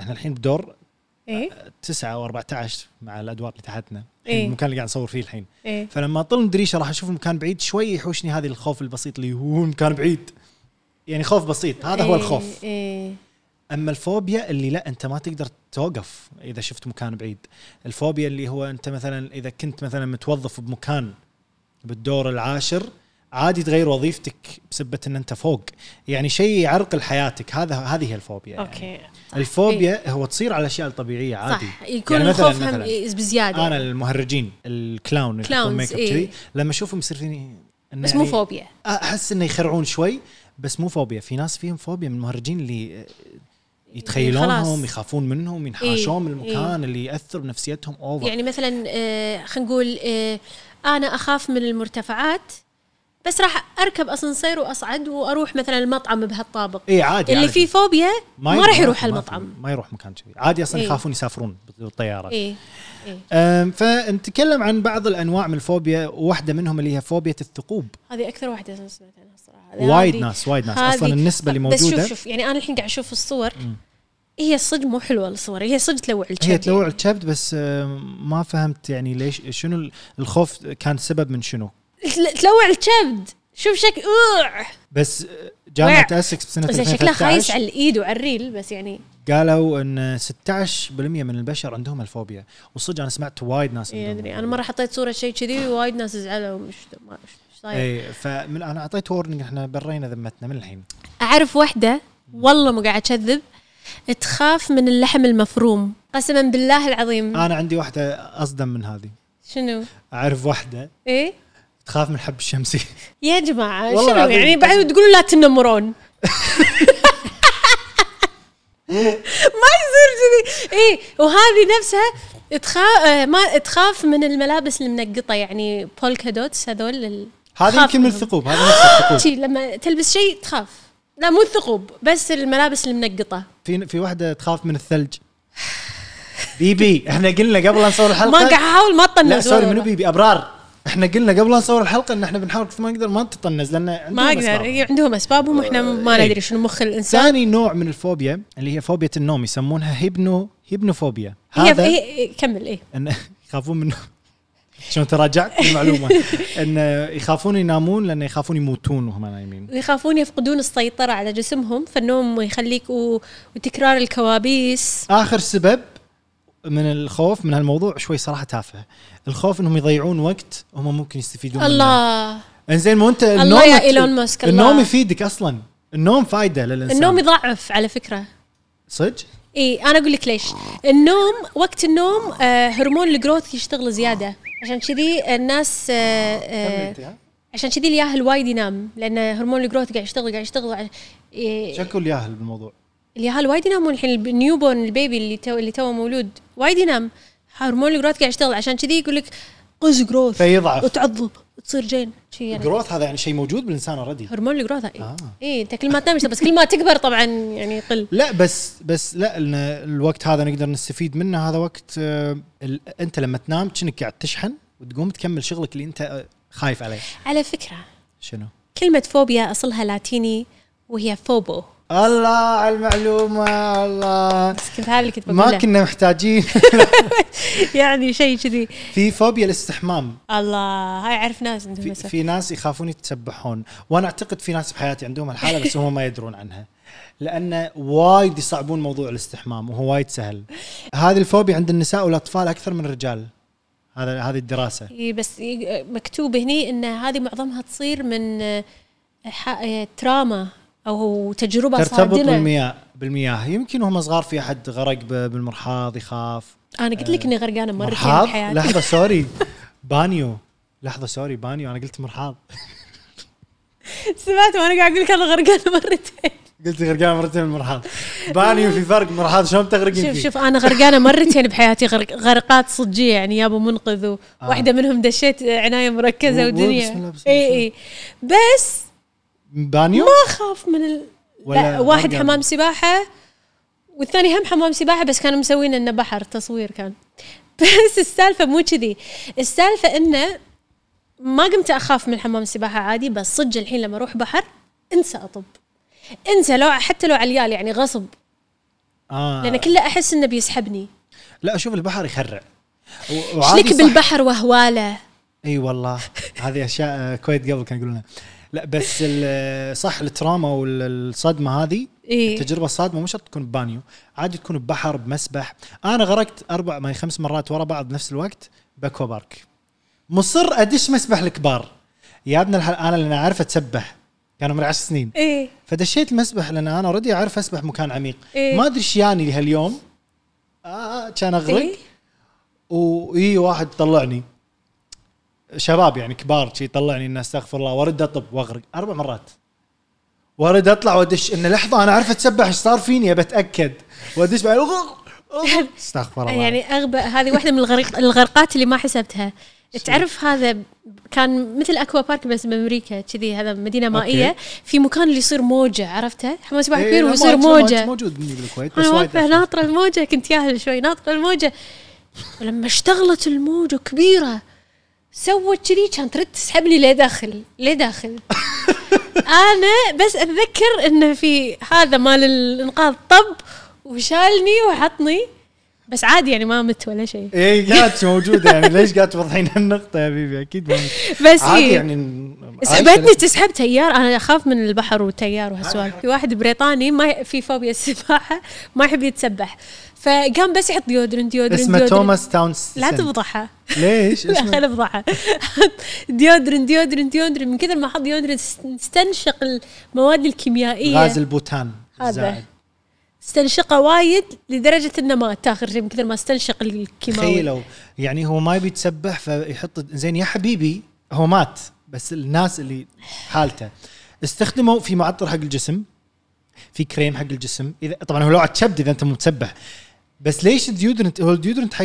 B: احنا الحين بدور
A: ايه
B: تسعة و14 مع الادوار اللي تحتنا
A: إيه.
B: الحين المكان اللي قاعد نصور فيه الحين
A: ايه
B: فلما اطل من الدريشه راح اشوف المكان بعيد شوي يحوشني هذا الخوف البسيط اللي هو المكان بعيد يعني خوف بسيط هذا هو
A: إيه،
B: الخوف
A: ايه
B: اما الفوبيا اللي لا انت ما تقدر توقف اذا شفت مكان بعيد الفوبيا اللي هو انت مثلا اذا كنت مثلا متوظف بمكان بالدور العاشر عادي تغير وظيفتك بسبه ان انت فوق يعني شيء يعرقل حياتك هذا هذه هي الفوبيا يعني.
A: اوكي صح.
B: الفوبيا هو تصير على اشياء طبيعيه عادي
A: إيه. صح يكون يعني الخوف هم بزياده
B: انا المهرجين الكلاون اللي
A: كلاونز،
B: يحطون ميك اب
A: إيه.
B: كذي لما اشوفهم يصير فيني إنه
A: بس مو
B: يعني
A: فوبيا
B: احس انه يخرعون شوي بس مو فوبيا في ناس فيهم فوبيا من المهرجين اللي
A: خلاص.
B: يتخيلونهم يخافون منهم ينحاشون
A: إيه،
B: من المكان اللي ياثر بنفسيتهم اوفر
A: يعني مثلا آه، خلينا نقول آه، انا اخاف من المرتفعات بس راح اركب اسانسير واصعد واروح مثلا المطعم بهالطابق
B: اي إيه، عادي
A: اللي
B: يعني عادي.
A: فيه فوبيا
B: ي-
A: ما راح يروح
B: ما-
A: المطعم
B: ما يروح مكان كذي عادي اصلا
A: إيه.
B: يخافون يسافرون بالطياره
A: اي اي
B: أم، فنتكلم عن بعض الانواع من الفوبيا واحده منهم اللي هي فوبيا الثقوب
A: هذه اكثر واحده أنا سمعت عنها الصراحه هذه-
B: وايد
A: هذه-
B: ناس وايد ناس
A: هذه-
B: اصلا النسبه اللي
A: بس
B: موجوده
A: شوف شوف يعني انا الحين قاعد اشوف الصور هي صدق مو حلوه الصور هي صدق تلوع الكبد
B: هي تلوع الكبد بس آه، ما فهمت يعني ليش شنو ال- الخوف كان سبب من شنو
A: يعني. تلوع الكبد شوف شكل اوه
B: بس آه، جامعه
A: وع.
B: اسكس بسنه
A: زين شكلها خايس
B: 2013
A: على الايد وعلى الريل بس يعني
B: قالوا ان 16% من البشر عندهم الفوبيا وصدق انا سمعت وايد ناس عندهم
A: يدري انا مره حطيت صوره شيء كذي وايد ناس زعلوا مش ما- مش صاير
B: اي إيه، فمن انا اعطيت ورنينج احنا برينا ذمتنا من الحين
A: اعرف وحده والله مو قاعد اكذب تخاف من اللحم المفروم قسما بالله العظيم
B: انا عندي واحده اصدم من هذه
A: شنو
B: اعرف واحده
A: ايه
B: تخاف من الحب [laughs] الشمسي
A: يا جماعه
B: والله
A: شنو
B: العظيم
A: يعني
B: قسم-
A: بعد تقولوا لا
B: [laughs]
A: تنمرون ما يصير كذي ايه وهذه نفسها تخاف ما تخاف من الملابس المنقطه يعني بولكا دوتس هذول ال-
B: هذه
A: تخاف
B: يمكن من
A: منهم.
B: الثقوب هذه نفس
A: [laughs]
B: الثقوب
A: شي لما تلبس شيء تخاف لا مو الثقوب بس الملابس المنقطه
B: في في واحده تخاف من الثلج بيبي احنا قلنا قبل لا نصور الحلقه
A: ما قاعد احاول ما اطنز
B: لا سوري
A: والله.
B: منو بيبي ابرار احنا قلنا قبل لا نصور الحلقه ان احنا بنحاول كيف ما نقدر ما تطنز لان
A: ما
B: عندهم
A: اقدر
B: أسباب.
A: إيه، عندهم اسبابهم واحنا ما
B: إيه.
A: ندري شنو مخ الانسان
B: ثاني نوع من الفوبيا اللي هي فوبيا النوم يسمونها هيبنو هيبنوفوبيا
A: هي
B: هذا
A: هي- هي- كمل ايه
B: ان [laughs] يخافون من شلون تراجعت المعلومه
A: [laughs]
B: ان يخافون ينامون لان يخافون يموتون وهم نايمين
A: ويخافون يفقدون السيطرة على جسمهم فالنوم يخليك و... وتكرار الكوابيس
B: اخر سبب من الخوف من هالموضوع شوي صراحه تافه الخوف انهم يضيعون وقت هم ممكن يستفيدون منه
A: الله
B: انزين مو انت النوم
A: الله يا إيلون ماسك، الله.
B: النوم يفيدك اصلا النوم فايده للانسان
A: النوم يضعف على فكرة
B: صدق
A: اي انا اقول لك ليش النوم وقت النوم آه هرمون الجروث يشتغل زياده عشان كذي الناس آه آه عشان كذي الياهل وايد ينام لان هرمون الجروث قاعد يشتغل قاعد يشتغل ع- إيه،
B: شكو الياهل بالموضوع
A: الياهل وايد ينامون الحين النيو بورن البيبي اللي تو اللي تو مولود وايد ينام هرمون الجروث قاعد يشتغل عشان كذي يقول لك قز جروث
B: فيضعف
A: وتعضب وتصير جين شي يعني
B: الجروث هذا يعني شيء موجود بالانسان اوريدي
A: هرمون الجروث اي
B: آه.
A: إيه انت كل ما تنام بس كل ما تكبر طبعا يعني يقل
B: لا بس بس لا إن الوقت هذا نقدر نستفيد منه هذا وقت آه، ال- انت لما تنام كأنك قاعد تشحن وتقوم تكمل شغلك اللي انت آه، خايف عليه
A: على فكره
B: شنو؟
A: كلمه فوبيا اصلها لاتيني وهي فوبو
B: الله على المعلومه الله
A: بس كنت هذا اللي كنت
B: ما
A: بقوله
B: كنا محتاجين
A: [laughs] يعني شيء كذي
B: في فوبيا الاستحمام
A: الله هاي اعرف ناس عندهم
B: في,
A: هسه.
B: في ناس يخافون يتسبحون وانا اعتقد في ناس بحياتي عندهم الحاله بس هم ما يدرون عنها لان وايد يصعبون موضوع الاستحمام وهو وايد سهل هذه الفوبيا عند النساء والاطفال اكثر من الرجال هذا هذه الدراسه
A: إي إيه، بس ي- مكتوب هني ان هذه معظمها تصير من آه، ح- آه، تراما او تجربه
B: ترتبط
A: صادمه
B: بالمياه بالمياه يمكن وهم صغار في احد غرق ب- بالمرحاض يخاف
A: انا قلت لك اني غرقانه مرتين
B: مرحاض
A: بحياتي [laughs]
B: لحظه سوري بانيو لحظه سوري بانيو انا قلت مرحاض [laughs]
A: سمعت وانا قاعد اقول لك انا غرقانه
B: [laughs]
A: مرتين
B: قلت غرقان مرتين المرحاض بانيو في فرق مرحاض شلون بتغرقين
A: شوف
B: فيه؟
A: شوف انا غرقانه مرتين بحياتي غرق غرقات صجيه يعني يابا منقذ و- واحده منهم دشيت عنايه مركزه
B: آه. و- و-
A: ودنيا
B: بسم الله، بسم الله.
A: اي اي بس
B: بانيو
A: ما اخاف من ال...
B: ولا
A: لا واحد
B: غرقان؟
A: حمام سباحه والثاني هم حمام سباحه بس كانوا مسوين انه بحر تصوير كان [laughs] بس السالفه مو كذي السالفه انه ما قمت اخاف من حمام السباحه عادي بس صدق الحين لما اروح بحر انسى اطب انسى لو حتى لو عليال يعني غصب
B: آه.
A: لان كله احس انه بيسحبني
B: لا اشوف البحر يخرع و- وعادي
A: شلك
B: صح.
A: بالبحر وهواله
B: اي والله هذه اشياء آه، كويت قبل كانوا يقولونها لا بس ال- صح التراما والصدمه هذه
A: إيه.
B: التجربه الصادمه مو شرط تكون ببانيو عادي تكون ببحر بمسبح انا غرقت اربع ما هي خمس مرات ورا بعض بنفس الوقت باكوا بارك مصر ادش مسبح الكبار يا ابن الحل انا لان اعرف اتسبح كان عمري 10
A: [laughs]
B: سنين
A: ايه
B: فدشيت المسبح لان انا اوريدي اعرف اسبح مكان عميق
A: إيه.
B: ما ادري ايش يعني لهاليوم آه كان اغرق
A: ايه
B: إيه؟ واي واحد طلعني شباب يعني كبار شي طلعني انه استغفر الله وارد اطب واغرق اربع مرات وارد اطلع وادش ان لحظه انا عارف اتسبح ايش صار فيني بتاكد وادش بعد أغرق، أغرق.
A: [laughs]
B: استغفر الله يعني
A: يعني اغبى هذه واحده من الغرق الغرقات اللي ما حسبتها تعرف هذا كان مثل اكوا بارك بس بامريكا كذي هذا مدينه مائيه
B: أوكي.
A: في مكان اللي يصير موجه عرفته حمام
B: إيه،
A: سباحه كبير ويصير موجه
B: موجود مني بالكويت بس
A: انا
B: وايد
A: واقفه
B: أخف.
A: ناطره الموجه كنت ياهل شوي ناطره الموجه ولما اشتغلت الموجه كبيره سوت كذي كانت ترد تسحبني لداخل لداخل
B: [laughs]
A: انا بس اتذكر انه في هذا مال الانقاذ طب وشالني وحطني بس عادي يعني ما مت ولا شيء [laughs]
B: اي إيه، قاعد موجوده يعني ليش قاعد توضحين هالنقطه يا بيبي اكيد ما-
A: بس
B: عادي
A: إيه.
B: يعني عايشة
A: سحبتني تسحب تيار انا اخاف من البحر والتيار وهالسوالف في واحد بريطاني ما ي- في فوبيا السباحه ما يحب يتسبح فقام بس يحط ديودرن ديودرن
B: اسمه
A: ديودرن.
B: توماس تاونس
A: لا تفضحه [laughs]
B: ليش؟
A: لا
B: اسمه
A: خل افضحه ديودرن ديودرن ديودرن من كثر ما حط ديودرن است- استنشق المواد
B: غاز
A: الكيميائيه
B: البوتان
A: هذا.
B: الزائد.
A: استنشقه وايد لدرجه انه مات اخر شيء من كثر ما استنشق الكيماوي
B: تخيلوا يعني هو ما يبي يتسبح فيحط زين يا حبيبي هو مات بس الناس اللي حالته استخدموا في معطر حق الجسم في كريم حق الجسم اذا طبعا هو لو على كبد اذا انت مو متسبح بس ليش الديودرنت هو الديودرنت حق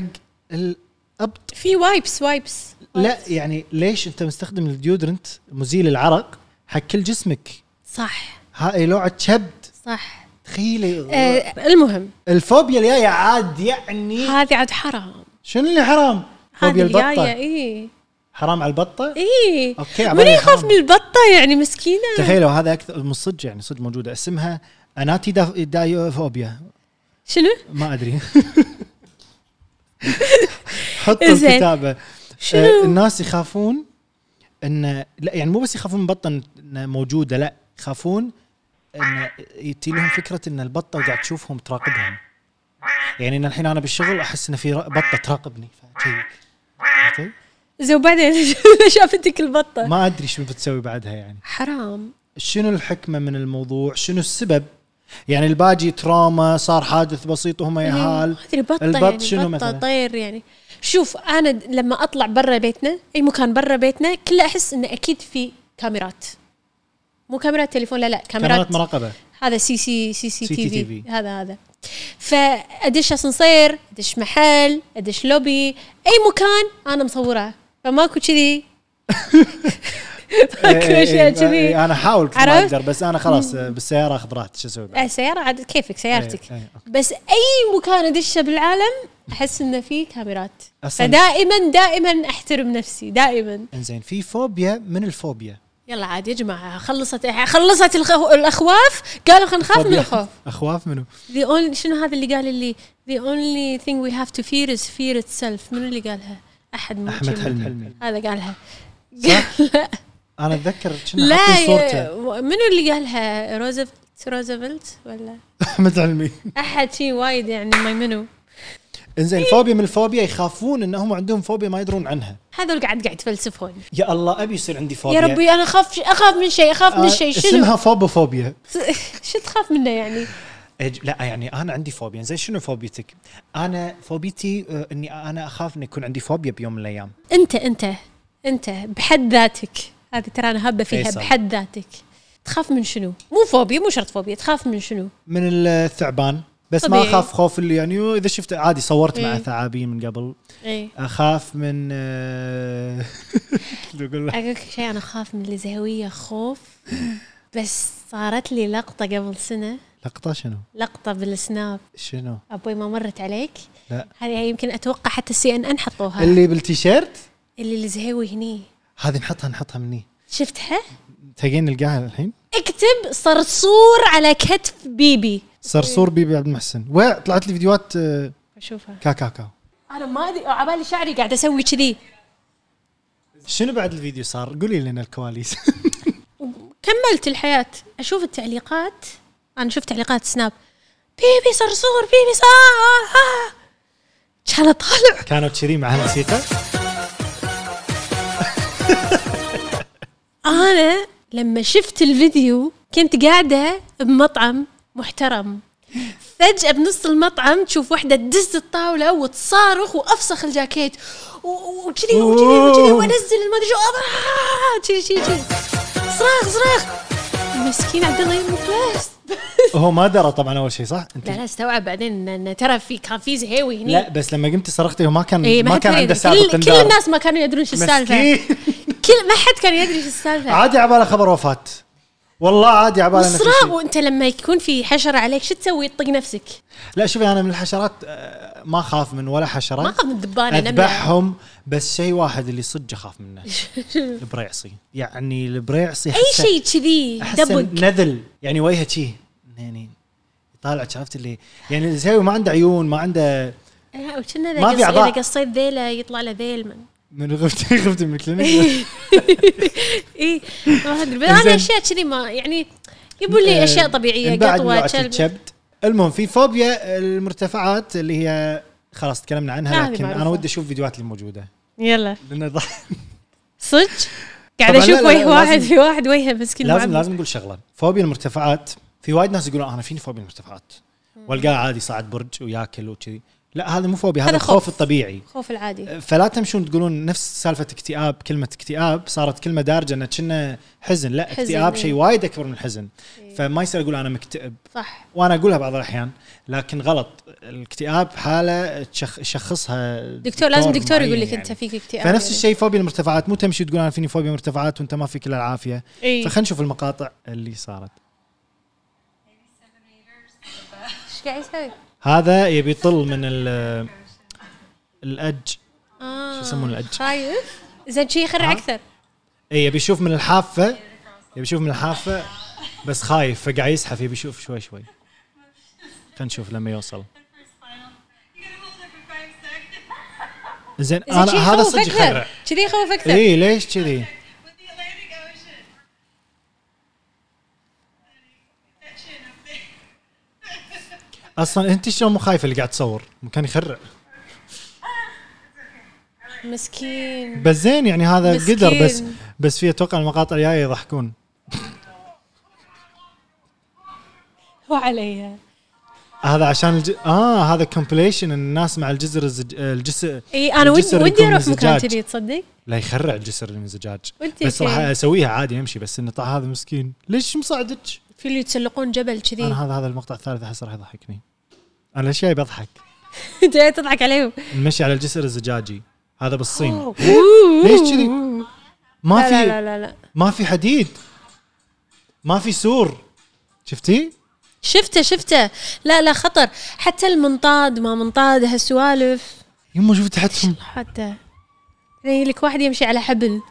B: الابط
A: في وايبس وايبس
B: لا يعني ليش انت مستخدم الديودرنت مزيل العرق حق كل جسمك إيه،
A: صح
B: هاي لو على كبد
A: صح
B: دخيلي
A: آه المهم
B: الفوبيا اللي جايه عاد يعني
A: هذه عاد حرام
B: شنو اللي حرام؟
A: هذه
B: فوبيا
A: الجايه
B: البطه
A: اي
B: حرام على البطه؟
A: اي
B: أوكي، عبالي
A: إيه. من يخاف
B: حرام.
A: من البطه يعني مسكينه
B: تخيلوا هذا اكثر من صدق يعني صدق موجوده اسمها اناتي دا- دايوفوبيا
A: شنو؟
B: ما ادري حطوا
A: زين.
B: الكتابه
A: شنو؟
B: آه، الناس يخافون ان لا يعني مو بس يخافون من بطه إن موجوده لا يخافون ان يتي لهم فكره ان البطه قاعد تشوفهم تراقبهم يعني ان الحين انا بالشغل احس ان في را- بطه تراقبني فأشيك. عرفتي؟
A: زين وبعدين [laughs] شافتك البطه
B: ما ادري شو بتسوي بعدها يعني
A: حرام
B: شنو الحكمه من الموضوع شنو السبب يعني الباجي تراما صار حادث بسيط وهم يهال
A: ما ادري بطه
B: البط
A: إيه، يعني
B: شنو
A: بطه
B: مثلاً؟
A: طير يعني شوف انا د- لما اطلع برا بيتنا اي مكان برا بيتنا كله احس انه اكيد في كاميرات مو كاميرات تليفون لا لا كاميرات
B: كاميرات
A: [laughs]
B: مراقبه
A: هذا سي سي سي سي تي في
B: CCTV.
A: هذا هذا فادش اسانسير ادش محل ادش لوبي اي مكان انا مصوره فماكو كذي
B: [laughs] إيه،
A: ماكو
B: إيه،
A: اشياء
B: إيه،
A: كذي
B: إيه، انا احاول كثر ما
A: عرفت؟
B: اقدر بس انا خلاص آه، بالسياره اخذ راحتي شو اسوي بعد؟
A: آه، سيارة عاد كيفك سيارتك
B: إيه، إيه،
A: بس اي مكان ادشه بالعالم احس انه في كاميرات
B: أصلاً-
A: فدائما دائما احترم نفسي دائما
B: انزين في فوبيا من الفوبيا
A: يلا عاد يا جماعه خلصت خلصت الخ- الاخواف قالوا خلينا نخاف من
B: فوبيا.
A: الخوف
B: اخواف منو؟
A: The only شنو هذا اللي قال اللي the only thing we have to fear is fear itself منو اللي قالها؟ احد من
B: احمد
A: جمع.
B: حلمي
A: هذا قالها
B: انا اتذكر كنا
A: لا
B: حاطين
A: يا-
B: صورته [laughs]
A: منو اللي قالها روزفلت روزفلت ولا
B: احمد حلمي
A: احد شي وايد يعني ما منو
B: انزين
A: إيه.
B: فوبيا من الفوبيا يخافون انهم عندهم فوبيا ما يدرون عنها
A: هذول قاعد قاعد يفلسفون
B: يا الله ابي يصير عندي فوبيا
A: يا ربي انا اخاف اخاف من شيء اخاف
B: يعني- آه،
A: من شيء شنو
B: اسمها فوبوفوبيا
A: شو تخاف منه يعني؟
B: أج- لا يعني انا عندي فوبيا زين شنو فوبيتك؟ انا فوبيتي آه، اني انا اخاف ان يكون عندي فوبيا بيوم من الايام
A: انت انت انت بحد ذاتك هذه ترى انا هبه فيها
B: فيصل.
A: بحد ذاتك تخاف من شنو؟ مو فوبيا مو شرط فوبيا تخاف من شنو؟
B: من الثعبان بس ما
A: طبيعي.
B: اخاف خوف اللي يعني اذا شفت عادي صورت مع
A: إيه.
B: ثعابين من قبل
A: ايه
B: اخاف من آه، [laughs] شو اقول لك؟
A: اقول لك شيء انا اخاف من الزهويه خوف بس صارت لي لقطه قبل سنه
B: لقطه شنو؟
A: لقطه بالسناب
B: شنو؟
A: ابوي ما مرت عليك
B: لا
A: هذه يمكن اتوقع حتى السي ان ان حطوها اللي,
B: اللي بالتيشيرت
A: اللي الزهوي هني
B: هذه نحطها نحطها مني
A: شفتها
B: تلقين نلقاها الحين
A: اكتب صرصور على كتف بيبي
B: صرصور بيبي عبد المحسن وين طلعت لي فيديوهات آه،
A: بشوفها
B: كاكاكاو
A: انا ما ادري عبالي شعري قاعد اسوي كذي
B: شنو بعد الفيديو صار؟ قولي لنا الكواليس
A: كملت الحياه اشوف التعليقات انا شفت تعليقات سناب بيبي صرصور بيبي صار آه آه. كان طالع
B: كانوا كذي معها موسيقى
A: انا لما شفت الفيديو كنت قاعده بمطعم محترم فجأة بنص المطعم تشوف واحدة تدز الطاولة وتصارخ وأفسخ الجاكيت و- و- وكذي وكذي وكذي وأنزل المدري شو آه، كذي كذي كذي صراخ صراخ مسكين عبد الله يمك بس
B: هو ما درى طبعا اول شيء صح؟ انت
A: لا لا استوعب بعدين إن- إن ترى في كان في زهيوي هني
B: لا بس لما قمتي صرختي هو ما كان
A: إيه،
B: ما
A: حد
B: كان عنده
A: يدري.
B: سالفه
A: كل, كل
B: تندار.
A: الناس ما كانوا يدرون شو السالفة طيب.
B: مسكين
A: كل ما حد كان يدري شو السالفة
B: عادي عباله خبر وفاه والله عادي عباله إنه في
A: صراخ
B: شيء.
A: وانت لما يكون في حشره عليك شو تسوي تطق نفسك
B: لا شوفي انا من الحشرات آه، ما اخاف من ولا حشره
A: ما اخاف من الدبانه نملة.
B: اذبحهم بس شيء واحد اللي صدق اخاف
A: [laughs]
B: منه البريعصي يعني البريعصي
A: اي شيء كذي دبق
B: نذل يعني وجهه شي يعني يطالع شافت اللي يعني الزاوية ما عنده عيون ما عنده
A: لا، وكنا
B: ما
A: اذا
B: في
A: قص-
B: أعضاء.
A: اذا قصيت ذيله يطلع له ذيل من
B: من [laughs] غفتي غفتي
A: [laughs]
B: من الكلينيك
A: اي إيه، ما ادري بس انا
B: إيه. إنزين. إيه.
A: اشياء كذي ما يعني يبون لي اشياء طبيعيه
B: انبعد
A: قطوه
B: ملوعة
A: كلب
B: الكبد المهم في فوبيا المرتفعات اللي هي خلاص تكلمنا عنها
A: هذه
B: لكن انا
A: معروفة.
B: ودي اشوف فيديوهات اللي موجوده
A: يلا
B: لان ضح-
A: صدق قاعد
B: طبعاً لا،
A: اشوف
B: لا،
A: وجه
B: لا،
A: واحد
B: لازم-
A: في واحد وجهه مسكين
B: لازم
A: معبد.
B: لازم نقول شغله فوبيا المرتفعات في وايد ناس يقولون انا فيني فوبيا المرتفعات والقاه عادي صعد برج وياكل وكذي لا هذا مو فوبيا هذا
A: هذا
B: الخوف
A: خوف.
B: الطبيعي
A: خوف العادي
B: فلا تمشون تقولون نفس سالفه اكتئاب كلمه اكتئاب صارت كلمه دارجه انه كنا حزن لا
A: حزن،
B: اكتئاب
A: إيه.
B: شيء وايد اكبر من الحزن فما يصير اقول انا مكتئب
A: صح
B: وانا اقولها بعض الاحيان لكن غلط الاكتئاب حاله تشخ- يشخصها
A: دكتور لازم دكتور
B: معين
A: يقول لك
B: يعني.
A: انت فيك اكتئاب
B: فنفس الشيء فوبيا المرتفعات مو تمشي تقول انا فيني فوبيا مرتفعات وانت ما فيك الا العافيه
A: إيه.
B: فخلينا نشوف المقاطع اللي صارت
A: قاعد يسوي؟
B: هذا يبي يطل من ال- الاج
A: آه،
B: يسمونه الأج؟
A: خايف زين شي يخرع
B: ها؟
A: اكثر
B: اي إيه، يبي يشوف من الحافه يبي يشوف من الحافه بس خايف فقاعد يزحف يبي يشوف شوي شوي خلينا نشوf لما يوصل زين
A: زين شي
B: انا هذا
A: يخوف
B: صدق
A: اكثر
B: يخرع إيه.
A: كذي يخوف اكثر
B: اي ليش كذي؟ اصلا انت شلون مو خايفه اللي قاعد تصور؟ مكان يخرع
A: مسكين
B: بس زين يعني هذا
A: مسكين.
B: قدر بس بس في اتوقع المقاطع الجايه يضحكون
A: وعليها
B: هذا عشان الج... اه هذا كومبليشن الناس مع الجزر الزج... الجسر
A: اي انا ودي
B: الجسر
A: ودي
B: يكون
A: اروح مكان
B: زجاج.
A: كذي تصدق
B: لا يخرع الجسر المزجاج
A: ودي
B: بس راح
A: شي.
B: اسويها عادي امشي بس انه طلع هذا مسكين ليش مصعدك؟
A: في اللي يتسلقون جبل كذي
B: انا هذا هذا المقطع الثالث احس راح يضحكني انا ليش جاي بضحك؟
A: [laughs] جاي تضحك عليهم
B: نمشي على الجسر الزجاجي هذا بالصين [laughs]
A: ليش
B: ليش كذي؟ ما
A: لا لا
B: في
A: لا لا
B: ما في حديد ما في سور شفتي؟
A: شفته شفته لا لا خطر حتى المنطاد ما منطاد هالسوالف
B: يما شوف تحتهم
A: حتى يعني لك واحد يمشي على حبل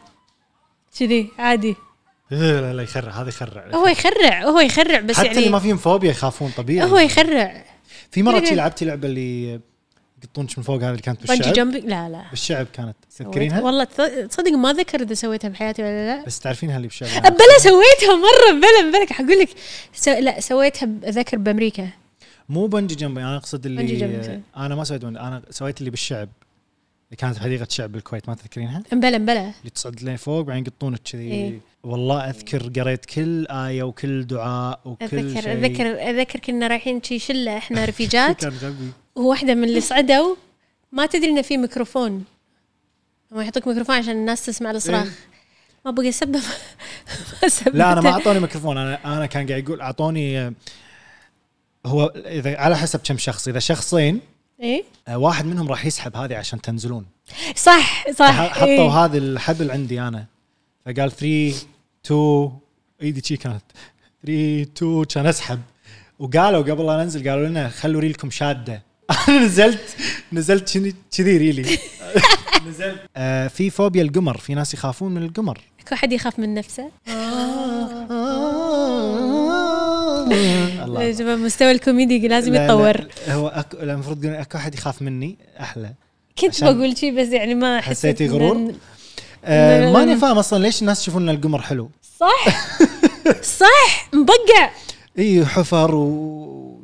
A: كذي عادي
B: لا لا لا يخرع هذا يخرع
A: هو يخرع هو يخرع بس
B: حتى اللي ما
A: يعني
B: فيهم فوبيا يخافون طبيعي
A: هو يخرع
B: في مره
A: إيه.
B: شي لعبتي لعبه اللي يقطونك من فوق هذه اللي كانت
A: بنجي
B: بالشعب
A: جامبينج لا لا
B: بالشعب كانت تذكرينها؟
A: والله تص- تصدق ما ذكر اذا سويتها بحياتي ولا لا
B: بس تعرفينها اللي بالشعب
A: بلا سويتها مره بلا بلا حقول لك سو... لا سويتها ب- اذكر بامريكا
B: مو بنجي جمبي انا اقصد اللي
A: بنجي جمبي.
B: انا ما سويت بنجي انا سويت اللي بالشعب اللي كانت حديقه شعب بالكويت ما تذكرينها؟
A: بلا بلا
B: اللي تصعد لين فوق بعدين يقطونك كذي
A: إيه.
B: والله اذكر قريت كل ايه وكل دعاء وكل
A: اتذكر
B: شيء
A: اتذكر اتذكر كنا رايحين شي شله
B: [laughs]
A: احنا رفيجات
B: كان غبي
A: وواحدة من اللي صعدوا ما تدري انه في ميكروفون هو يحطوك ميكروفون عشان الناس تسمع الصراخ
B: إيه.
A: ما بقى سبب [laughs] ما سبب
B: لا
A: [laughs]
B: انا ما اعطوني ميكروفون انا انا كان قاعد يقول اعطوني آه، هو اذا على حسب كم شخص اذا شخصين
A: ايه
B: آه، واحد منهم راح يسحب هذه عشان تنزلون
A: صح
B: فح-
A: صح
B: حطوا
A: إيه.
B: هذا الحبل عندي انا فقال 3 2 ايدي شي كانت 3 2 كان اسحب وقالوا قبل لا ننزل قالوا لنا خلوا ريلكم [laughs] شاده انا نزلت نزلت شني-
A: [laughs]
B: كذي ريلي نزلت آه في فوبيا القمر في ناس يخافون من
A: [laughs]
B: القمر
A: إيه. كل حد يخاف من نفسه
B: الله
A: يا جماعة مستوى الكوميدي لازم
B: لا، لا،
A: يتطور
B: هو أك- لا، المفروض يقولون اكو احد يخاف مني احلى
A: كنت
B: عشان-
A: بقول شيء بس يعني ما حسيت
B: حسيتي غرور؟
A: إن- لا، لا،
B: آه
A: لا.
B: ماني فاهم اصلا ليش الناس يشوفون ان القمر حلو
A: صح
B: [laughs]
A: صح مبقع
B: اي حفر و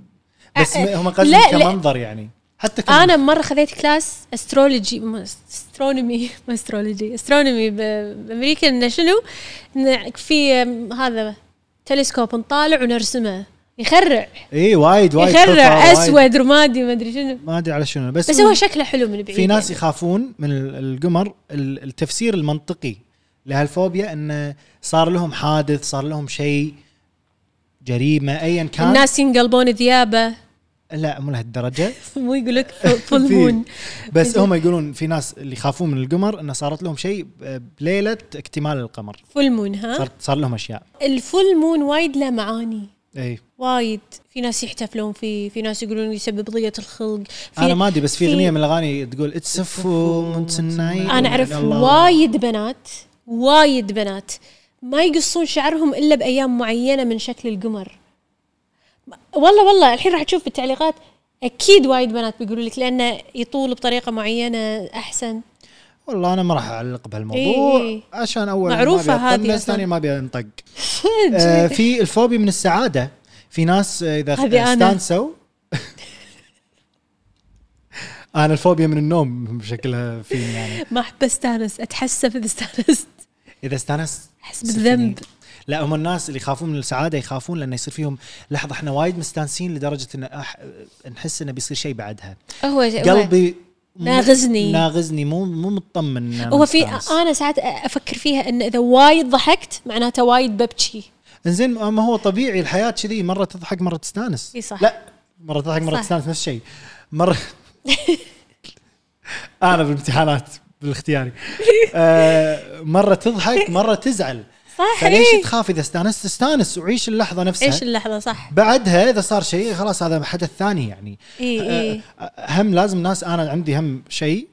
B: بس
A: أ-
B: م- هم قصدي
A: أه، لا، لا.
B: كمنظر يعني حتى كمنظر
A: انا مره خذيت كلاس استرولوجي [laughs] استرونومي ما استرولوجي استرونومي بامريكا انه شنو؟ إنه في أم، هذا تلسكوب نطالع ونرسمه يخرع
B: اي وايد وايد حفر،
A: يخرع
B: وايد.
A: اسود رمادي ما ادري شنو
B: ما ادري على شنو بس,
A: بس هو شكله حلو من بعيد
B: في ناس
A: يعني.
B: يخافون من ال- القمر ال- التفسير المنطقي لهالفوبيا انه صار لهم حادث صار لهم شيء جريمه ايا كان
A: الناس ينقلبون ذيابه
B: لا مو لهالدرجه
A: [laughs] مو يقول
B: [laughs]
A: لك فول
B: في-
A: مون [laughs]
B: بس
A: زين.
B: هم يقولون في ناس اللي يخافون من القمر انه صارت لهم شيء ب- بليله اكتمال القمر
A: فول مون ها
B: صار صار لهم اشياء
A: الفول مون وايد له معاني
B: اي
A: وايد في ناس يحتفلون فيه في ناس يقولون يسبب ضيقه الخلق في
B: انا ما ادري بس في
A: في-
B: اغنيه من الاغاني تقول اتس فول
A: انا اعرف وايد بنات وايد بنات ما يقصون شعرهم الا بايام معينه من شكل القمر والله والله الحين راح تشوف بالتعليقات اكيد وايد بنات بيقولوا لك لانه يطول بطريقه معينه احسن
B: والله انا ما راح اعلق
A: إي
B: بهالموضوع
A: إي.
B: عشان اول
A: إيه، معروفة هذه أصلاً.
B: الثانيه ما
A: [laughs]
B: ابي انطق آه، في الفوبيا من السعاده في ناس آه، اذا
A: هذه أنا.
B: استانسوا [laughs] انا الفوبيا من النوم شكلها فيني يعني
A: ما احب استانس اتحسف اذا استانست
B: اذا استانست
A: احس بالذنب
B: لا هم الناس اللي يخافون من السعاده يخافون لانه يصير فيهم لحظه احنا وايد مستانسين لدرجه ان أح... نحس انه بيصير شيء بعدها
A: هو
B: قلبي مو-
A: إيه، ناغزني.
B: ناغزني مو مو مطمن إن أنا
A: هو في آه،
B: مستانس.
A: انا ساعات افكر فيها ان اذا وايد ضحكت معناته وايد ببكي
B: انزين ما هو طبيعي الحياه كذي مره تضحك مره تستانس
A: إي صح.
B: لا مره تضحك مره
A: صح.
B: تستانس نفس الشيء
A: [laughs]
B: مره
A: [laughs] [laughs]
B: انا بالامتحانات بالاختياري آه مره تضحك مره تزعل
A: صح
B: فليش
A: إيه.
B: تخاف اذا استانست استانس وعيش اللحظه نفسها
A: ايش اللحظه صح
B: بعدها اذا صار شيء خلاص هذا حدث ثاني يعني
A: إي إي.
B: أ- أ- هم لازم ناس انا عندي هم شيء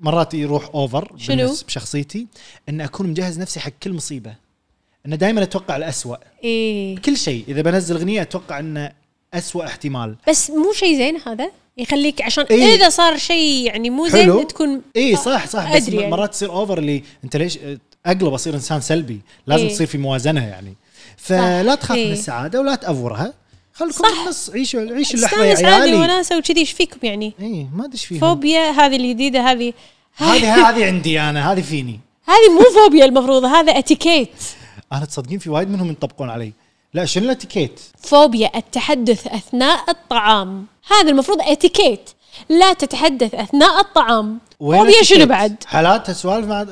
B: مرات يروح اوفر
A: شنو؟
B: بشخصيتي ان اكون مجهز نفسي حق كل مصيبه ان دائما اتوقع الأسوأ
A: اي
B: كل شيء اذا بنزل اغنيه اتوقع انه أسوأ احتمال
A: بس مو شيء زين هذا يخليك عشان
B: إي.
A: إيه؟ اذا صار شيء يعني مو
B: حلو.
A: زين تكون
B: اي صح صح بس
A: أدري يعني.
B: مرات تصير اوفر لي انت ليش اقلب اصير انسان سلبي لازم
A: إيه.
B: تصير في موازنه يعني فلا
A: صح.
B: تخاف من
A: إيه.
B: السعاده ولا تافورها خلكم
A: صح.
B: بالنص عيشوا عيشوا اللحظه
A: استانس
B: يا
A: عادي
B: عيالي
A: وناسه وكذي ايش فيكم يعني
B: اي ما ادري ايش فيهم
A: فوبيا هذه الجديده هذه
B: هذه هذه عندي انا هذه فيني
A: هذه مو فوبيا المفروض هذا اتيكيت
B: انا تصدقين في وايد منهم ينطبقون علي لا شنو الاتيكيت
A: فوبيا التحدث اثناء الطعام هذا المفروض اتيكيت لا تتحدث اثناء الطعام
B: وين
A: فوبيا شنو
B: الاتيكيت؟
A: بعد
B: حالات سوالف مع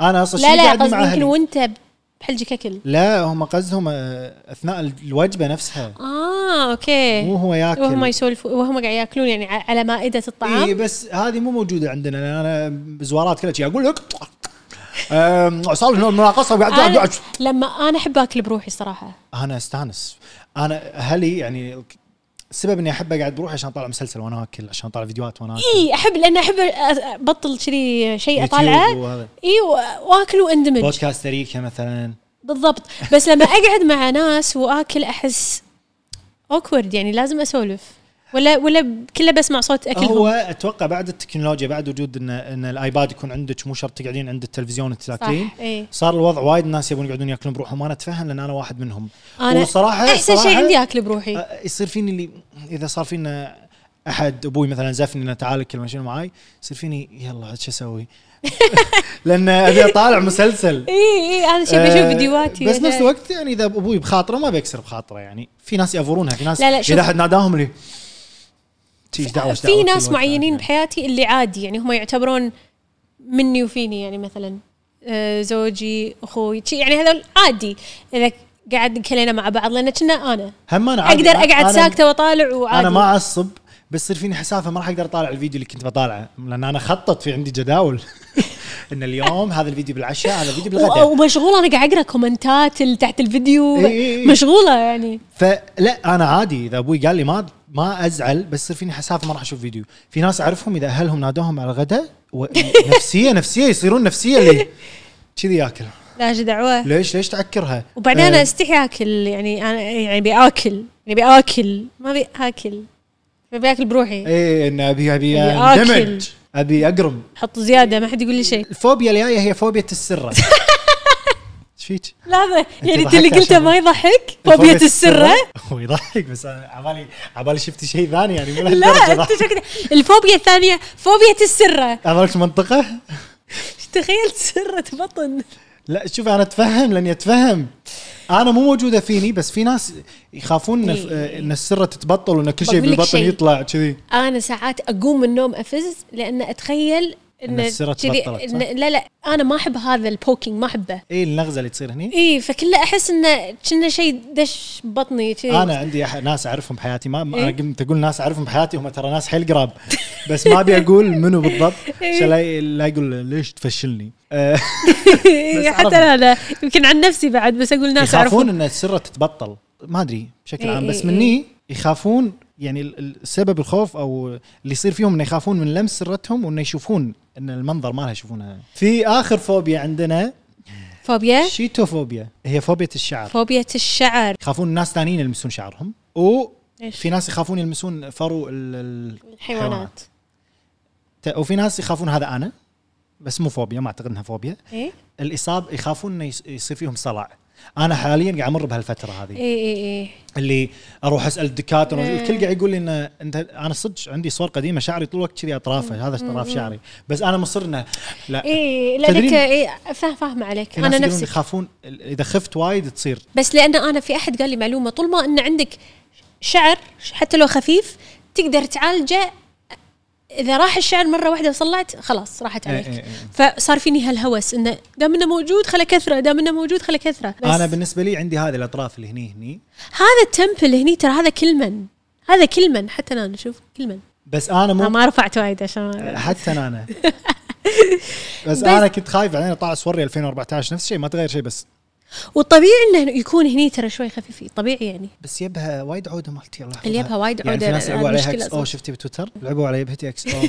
B: انا اصلا
A: لا
B: شنو
A: لا
B: قاعد مع
A: قصدي يمكن
B: أهلي؟
A: وانت بحلجك اكل
B: لا هم قصدهم آه، اثناء الوجبه نفسها
A: اه اوكي
B: مو هو ياكل
A: وهم يسولفوا وهم قاعد ياكلون يعني ع- على مائده الطعام
B: اي بس هذه مو موجوده عندنا لأن انا بزوارات كذا شي اقول لك أم، صار لنا مناقصه وقاعد قاعد-
A: أنا
B: قاعد-
A: لما انا احب اكل بروحي صراحه
B: انا استانس انا اهلي يعني السبب اني احب اقعد بروحي عشان اطالع مسلسل وانا اكل عشان اطالع فيديوهات وانا اكل
A: اي احب لان احب أ- ابطل كذي شيء
B: يوتيوب
A: اطالعه
B: وهذا.
A: اي و- واكل واندمج
B: بودكاست امريكا مثلا
A: بالضبط بس لما اقعد مع ناس واكل احس اوكورد يعني لازم اسولف ولا ولا ب- كله بسمع صوت
B: هو
A: اكلهم
B: اتوقع بعد التكنولوجيا بعد وجود ان ان الايباد يكون عندك مو شرط تقعدين عند التلفزيون تاكلين
A: صح اي
B: صار الوضع وايد ناس يبون يقعدون ياكلون بروحهم وانا اتفهم لان انا واحد منهم
A: انا
B: وصراحة-
A: احسن شيء
B: صراحة-
A: عندي اكل بروحي
B: أ- يصير فيني اللي اذا صار فينا احد ابوي مثلا زفني انه تعال كلمه شنو معاي يصير فيني يلا عاد
A: [laughs]
B: شو اسوي؟ لان ابي اطالع مسلسل
A: اي اي انا شيء بشوف
B: أه،
A: فيديوهاتي
B: بس نفس الوقت يعني اذا ابوي بخاطره ما بيكسر بخاطره يعني في ناس يافورونها في ناس
A: لا، لا،
B: اذا
A: شوف.
B: احد ناداهم اللي تيش دعوه إيش دعوة
A: في
B: كل
A: ناس
B: وقت
A: معينين
B: يعني.
A: بحياتي اللي عادي يعني هم يعتبرون مني وفيني يعني مثلا آه، زوجي اخوي شي- يعني هذول عادي اذا قاعد كلينا مع بعض لان كنا انا
B: هم انا عادي،
A: اقدر
B: أنا-
A: اقعد
B: أنا-
A: ساكته واطالع وعادي
B: انا ما اعصب بس يصير فيني حسافه ما راح اقدر اطالع الفيديو اللي كنت بطالعه لان انا خطط في عندي جداول
A: [laughs]
B: ان اليوم هذا الفيديو بالعشاء هذا الفيديو بالغداء
A: و- ومشغوله انا قاعد اقرا كومنتات اللي تحت الفيديو
B: إي إي إي.
A: مشغوله يعني
B: فلا انا عادي اذا ابوي قال لي ما ما ازعل بس يصير فيني حسافه ما راح اشوف فيديو في ناس اعرفهم اذا اهلهم نادوهم على الغداء و- [laughs] نفسيه نفسيه يصيرون نفسيه اللي كذي ياكل
A: لا إيش دعوه
B: ليش ليش تعكرها
A: وبعدين انا
B: آه،
A: استحي اكل يعني انا يعني باكل يعني باكل ما باكل باكل بروحي
B: ايه ان ابي ابي
A: أبي
B: اندمج ابي اقرم
A: احط زياده ما حد يقول لي شيء
B: الفوبيا الجايه هي فوبيا السره
A: [laughs]
B: ايش فيك؟
A: لحظه يعني انت
B: ضحكت
A: اللي قلته
B: عشان-
A: ما يضحك فوبيا السره
B: [laughs] هو يضحك بس انا عبالي عبالي شفت شيء ثاني يعني مو
A: لا
B: لهالدرجه
A: انت
B: ضحك.
A: شكلك الفوبيا الثانيه فوبيا السره
B: عبالك منطقه؟
A: تخيل سره بطن
B: لا شوف انا اتفهم لاني اتفهم انا مو موجوده فيني بس في ناس يخافون ان
A: إيه.
B: ان السره تتبطل وان كل شيء
A: بقول لك
B: بالبطن
A: شيء.
B: يطلع كذي
A: انا ساعات اقوم من النوم افز لان اتخيل
B: إن السرة
A: كذي-
B: تبطلت،
A: إن-
B: صح؟
A: لا لا انا ما احب هذا البوكينج ما احبه
B: اي اللغزه إيه، اللي تصير هني
A: اي فكله احس انه كنا شيء دش بطني كذي [laughs]
B: انا عندي أح- ناس اعرفهم بحياتي ما ما- انا
A: إيه.
B: قمت اقول ناس اعرفهم بحياتي هم ترى ناس حيل قراب بس ما ابي اقول منو بالضبط
A: [laughs]
B: عشان لا ي- لا يقول ليش تفشلني آه، بس
A: إيه، حتى
B: عرفت.
A: انا لا يمكن عن نفسي بعد بس اقول ناس
B: يخافون
A: يعرفون
B: ان السره تتبطل ما ادري بشكل
A: نعم، إيه
B: عام
A: إيه
B: بس
A: إيه.
B: مني يخافون يعني ال- ال- سبب الخوف او اللي يصير فيهم انه يخافون من لمس سرتهم وانه يشوفون ان المنظر مالها يشوفونها في اخر فوبيا عندنا
A: فوبيا
B: شيتوفوبيا هي فوبيا الشعر
A: فوبيا الشعر
B: يخافون الناس ثانيين يلمسون شعرهم
A: إيش؟
B: وفي ناس يخافون يلمسون فرو ال- ال-
A: الحيوانات
B: ت- وفي ناس يخافون هذا انا بس مو فوبيا ما اعتقد انها فوبيا
A: اي
B: الاصاب يخافون انه يص- يصير فيهم صلع انا حاليا قاعد امر بهالفتره هذه
A: اي اي
B: اللي اروح اسال الدكاتره
A: إيه.
B: الكل قاعد يقول لي ان انت انا صدق عندي صور قديمه شعري طول الوقت كذي اطرافه هذا اطراف شعري بس انا مصر انه لا
A: اي
B: تدرين-
A: لانك اي فاهم فاهمه إيه، عليك
B: في ناس
A: انا
B: يقولون
A: إيه، نفسي
B: يخافون اذا خفت وايد تصير
A: بس لان انا في احد قال لي معلومه طول ما ان عندك شعر حتى لو خفيف تقدر تعالجه اذا راح الشعر مره واحده وصلعت خلاص راحت
B: إيه،
A: عليك
B: إيه، إيه.
A: فصار فيني هالهوس انه دام انه موجود خله كثره دام انه موجود خله كثره بس
B: انا بالنسبه لي عندي هذه الاطراف اللي هني هني
A: هذا التمبل هني ترى هذا كل من هذا كل من حتى انا شوف كل من
B: بس انا
A: انا
B: مو
A: ما رفعت وايد عشان ما-
B: حتى
A: [laughs]
B: أنا- انا بس, انا كنت خايف بعدين اطالع صوري 2014 نفس الشيء ما تغير شيء بس
A: والطبيعي انه يكون هني ترى شوي خفيف طبيعي يعني
B: بس يبها وايد عوده مالتي الله
A: اللي يبها وايد
B: يعني
A: عوده
B: في ناس
A: هذه
B: لعبوا عليها
A: مشكلة
B: اكس او
A: أصلاً.
B: شفتي بتويتر لعبوا على يبهتي اكس
A: [laughs]
B: او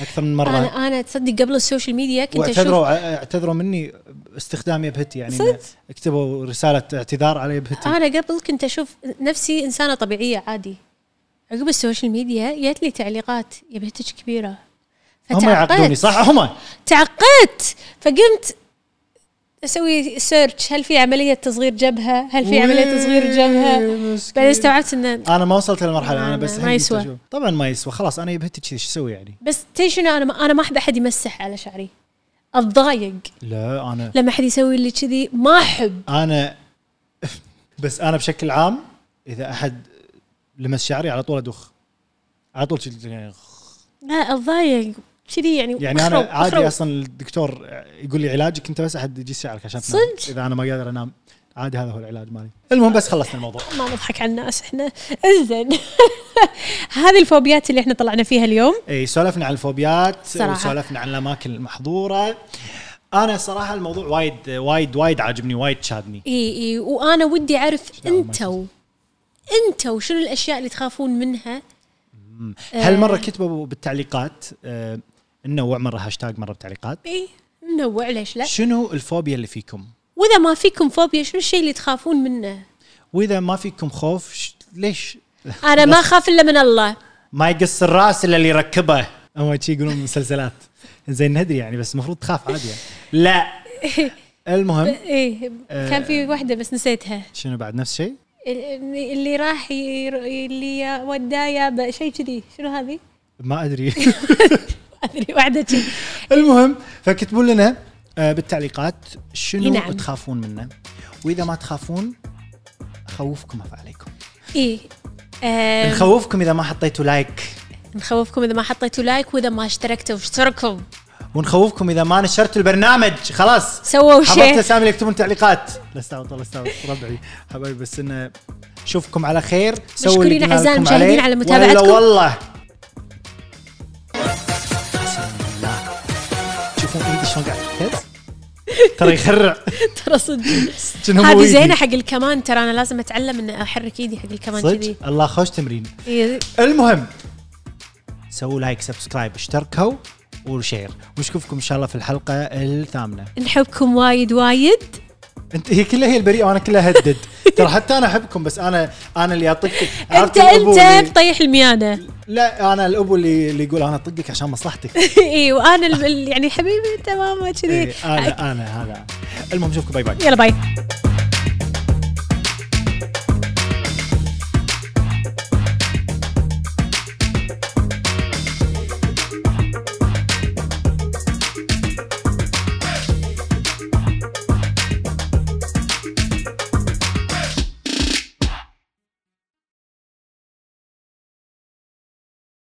B: اكثر من مره
A: انا انا تصدق قبل السوشيال ميديا كنت اشوف
B: واعتذروا اعتذروا مني باستخدام يبهتي يعني
A: صدق؟
B: كتبوا رساله اعتذار على يبهتي
A: انا قبل كنت اشوف نفسي انسانه طبيعيه عادي عقب السوشيال ميديا جت لي تعليقات يا بنتك كبيره
B: هم يعقدوني صح هم
A: تعقدت فقمت اسوي سيرش هل في عمليه تصغير جبهه هل في عمليه تصغير جبهه بعدين استوعبت انه
B: انا ما وصلت للمرحله انا
A: ما-
B: بس
A: ما
B: الحين
A: يسوى.
B: قلت أشوف. طبعا ما يسوى خلاص انا يبهتي كذي شو اسوي يعني
A: بس تدري شنو انا ما انا ما احب احد يمسح على شعري اتضايق
B: لا انا
A: لما احد يسوي لي كذي ما احب
B: انا بس انا بشكل عام اذا احد لمس شعري على طول ادخ على طول شي- يعني
A: لا اتضايق كذي يعني
B: يعني انا
A: أخرب- أخرب.
B: عادي اصلا الدكتور يقول لي علاجك انت بس احد يجي شعرك عشان تنام.
A: صدق؟
B: اذا انا ما قادر انام عادي هذا هو العلاج مالي المهم بس خلصنا الموضوع
A: ما نضحك على الناس احنا انزين [laughs] هذه الفوبيات اللي احنا طلعنا فيها اليوم
B: اي سولفنا عن الفوبيات
A: صراحة.
B: وسولفنا عن الاماكن المحظوره انا صراحه الموضوع وايد وايد وايد عاجبني وايد شادني
A: اي اي وانا ودي اعرف
B: دعوة ما
A: انتو انتو شنو الاشياء اللي تخافون منها
B: هالمره كتبوا بالتعليقات آه، ننوع مره هاشتاج مره بالتعليقات
A: اي ننوع ليش لا
B: شنو الفوبيا اللي فيكم؟
A: واذا ما فيكم فوبيا شنو الشيء اللي تخافون منه
B: واذا ما فيكم خوف ش- ليش
A: انا ما اخاف الا من الله
B: ما يقص الراس الا اللي يركبه اما شي يقولون مسلسلات زين ندري يعني بس المفروض تخاف عادي يعني. [laughs] لا المهم
A: اي كان في واحده بس نسيتها
B: شنو بعد نفس الشيء؟
A: ال- اللي راح ير- اللي ودايا شيء كذي شنو [laughs] هذه؟
B: ما [laughs] ادري
A: ادري واحده كذي
B: المهم فكتبوا لنا آه، بالتعليقات شنو
A: نعم.
B: تخافون منه واذا ما تخافون خوفكم اف عليكم
A: اي آم،
B: نخوفكم اذا ما حطيتوا لايك
A: آه، نخوفكم اذا ما حطيتوا لايك واذا ما اشتركتوا اشتركوا
B: ونخوفكم اذا ما نشرتوا البرنامج خلاص
A: سووا
B: حضرت
A: شيء
B: الاسامي اللي يكتبون تعليقات لا استعوض الله استعوض ربعي حبايبي بس انه اشوفكم على خير سووا اللي
A: مشكورين
B: قلنا
A: أعزائي
B: لكم
A: المشاهدين
B: عليه.
A: على
B: ولا
A: متابعتكم.
B: والله بسم الله تشوفون ايدي شلون قاعد تهتز؟
A: [laughs]
B: ترى يخرع
A: ترى صدق
B: جنهم
A: هذه
B: ويدي.
A: زينه حق الكمان ترى انا لازم اتعلم ان احرك ايدي حق الكمان كذي إيه،
B: صدق الله خوش تمرين
A: إي،
B: المهم سووا لايك سبسكرايب اشتركوا وشير ونشوفكم ان شاء الله في الحلقه الثامنه
A: نحبكم وايد وايد
B: انت هي كلها هي البريئه وانا كلها هدد ترى حتى انا احبكم بس انا انا اللي اطقك عرفت
A: انت
B: الأبو
A: انت
B: اللي-
A: مطيح الميانه [laughs]
B: لا انا الابو اللي, اللي يقول انا اطقك عشان مصلحتك
A: اي وانا ال- ال- يعني حبيبي تمام كذي
B: إيه، انا انا هذا المهم نشوفكم باي باي
A: يلا باي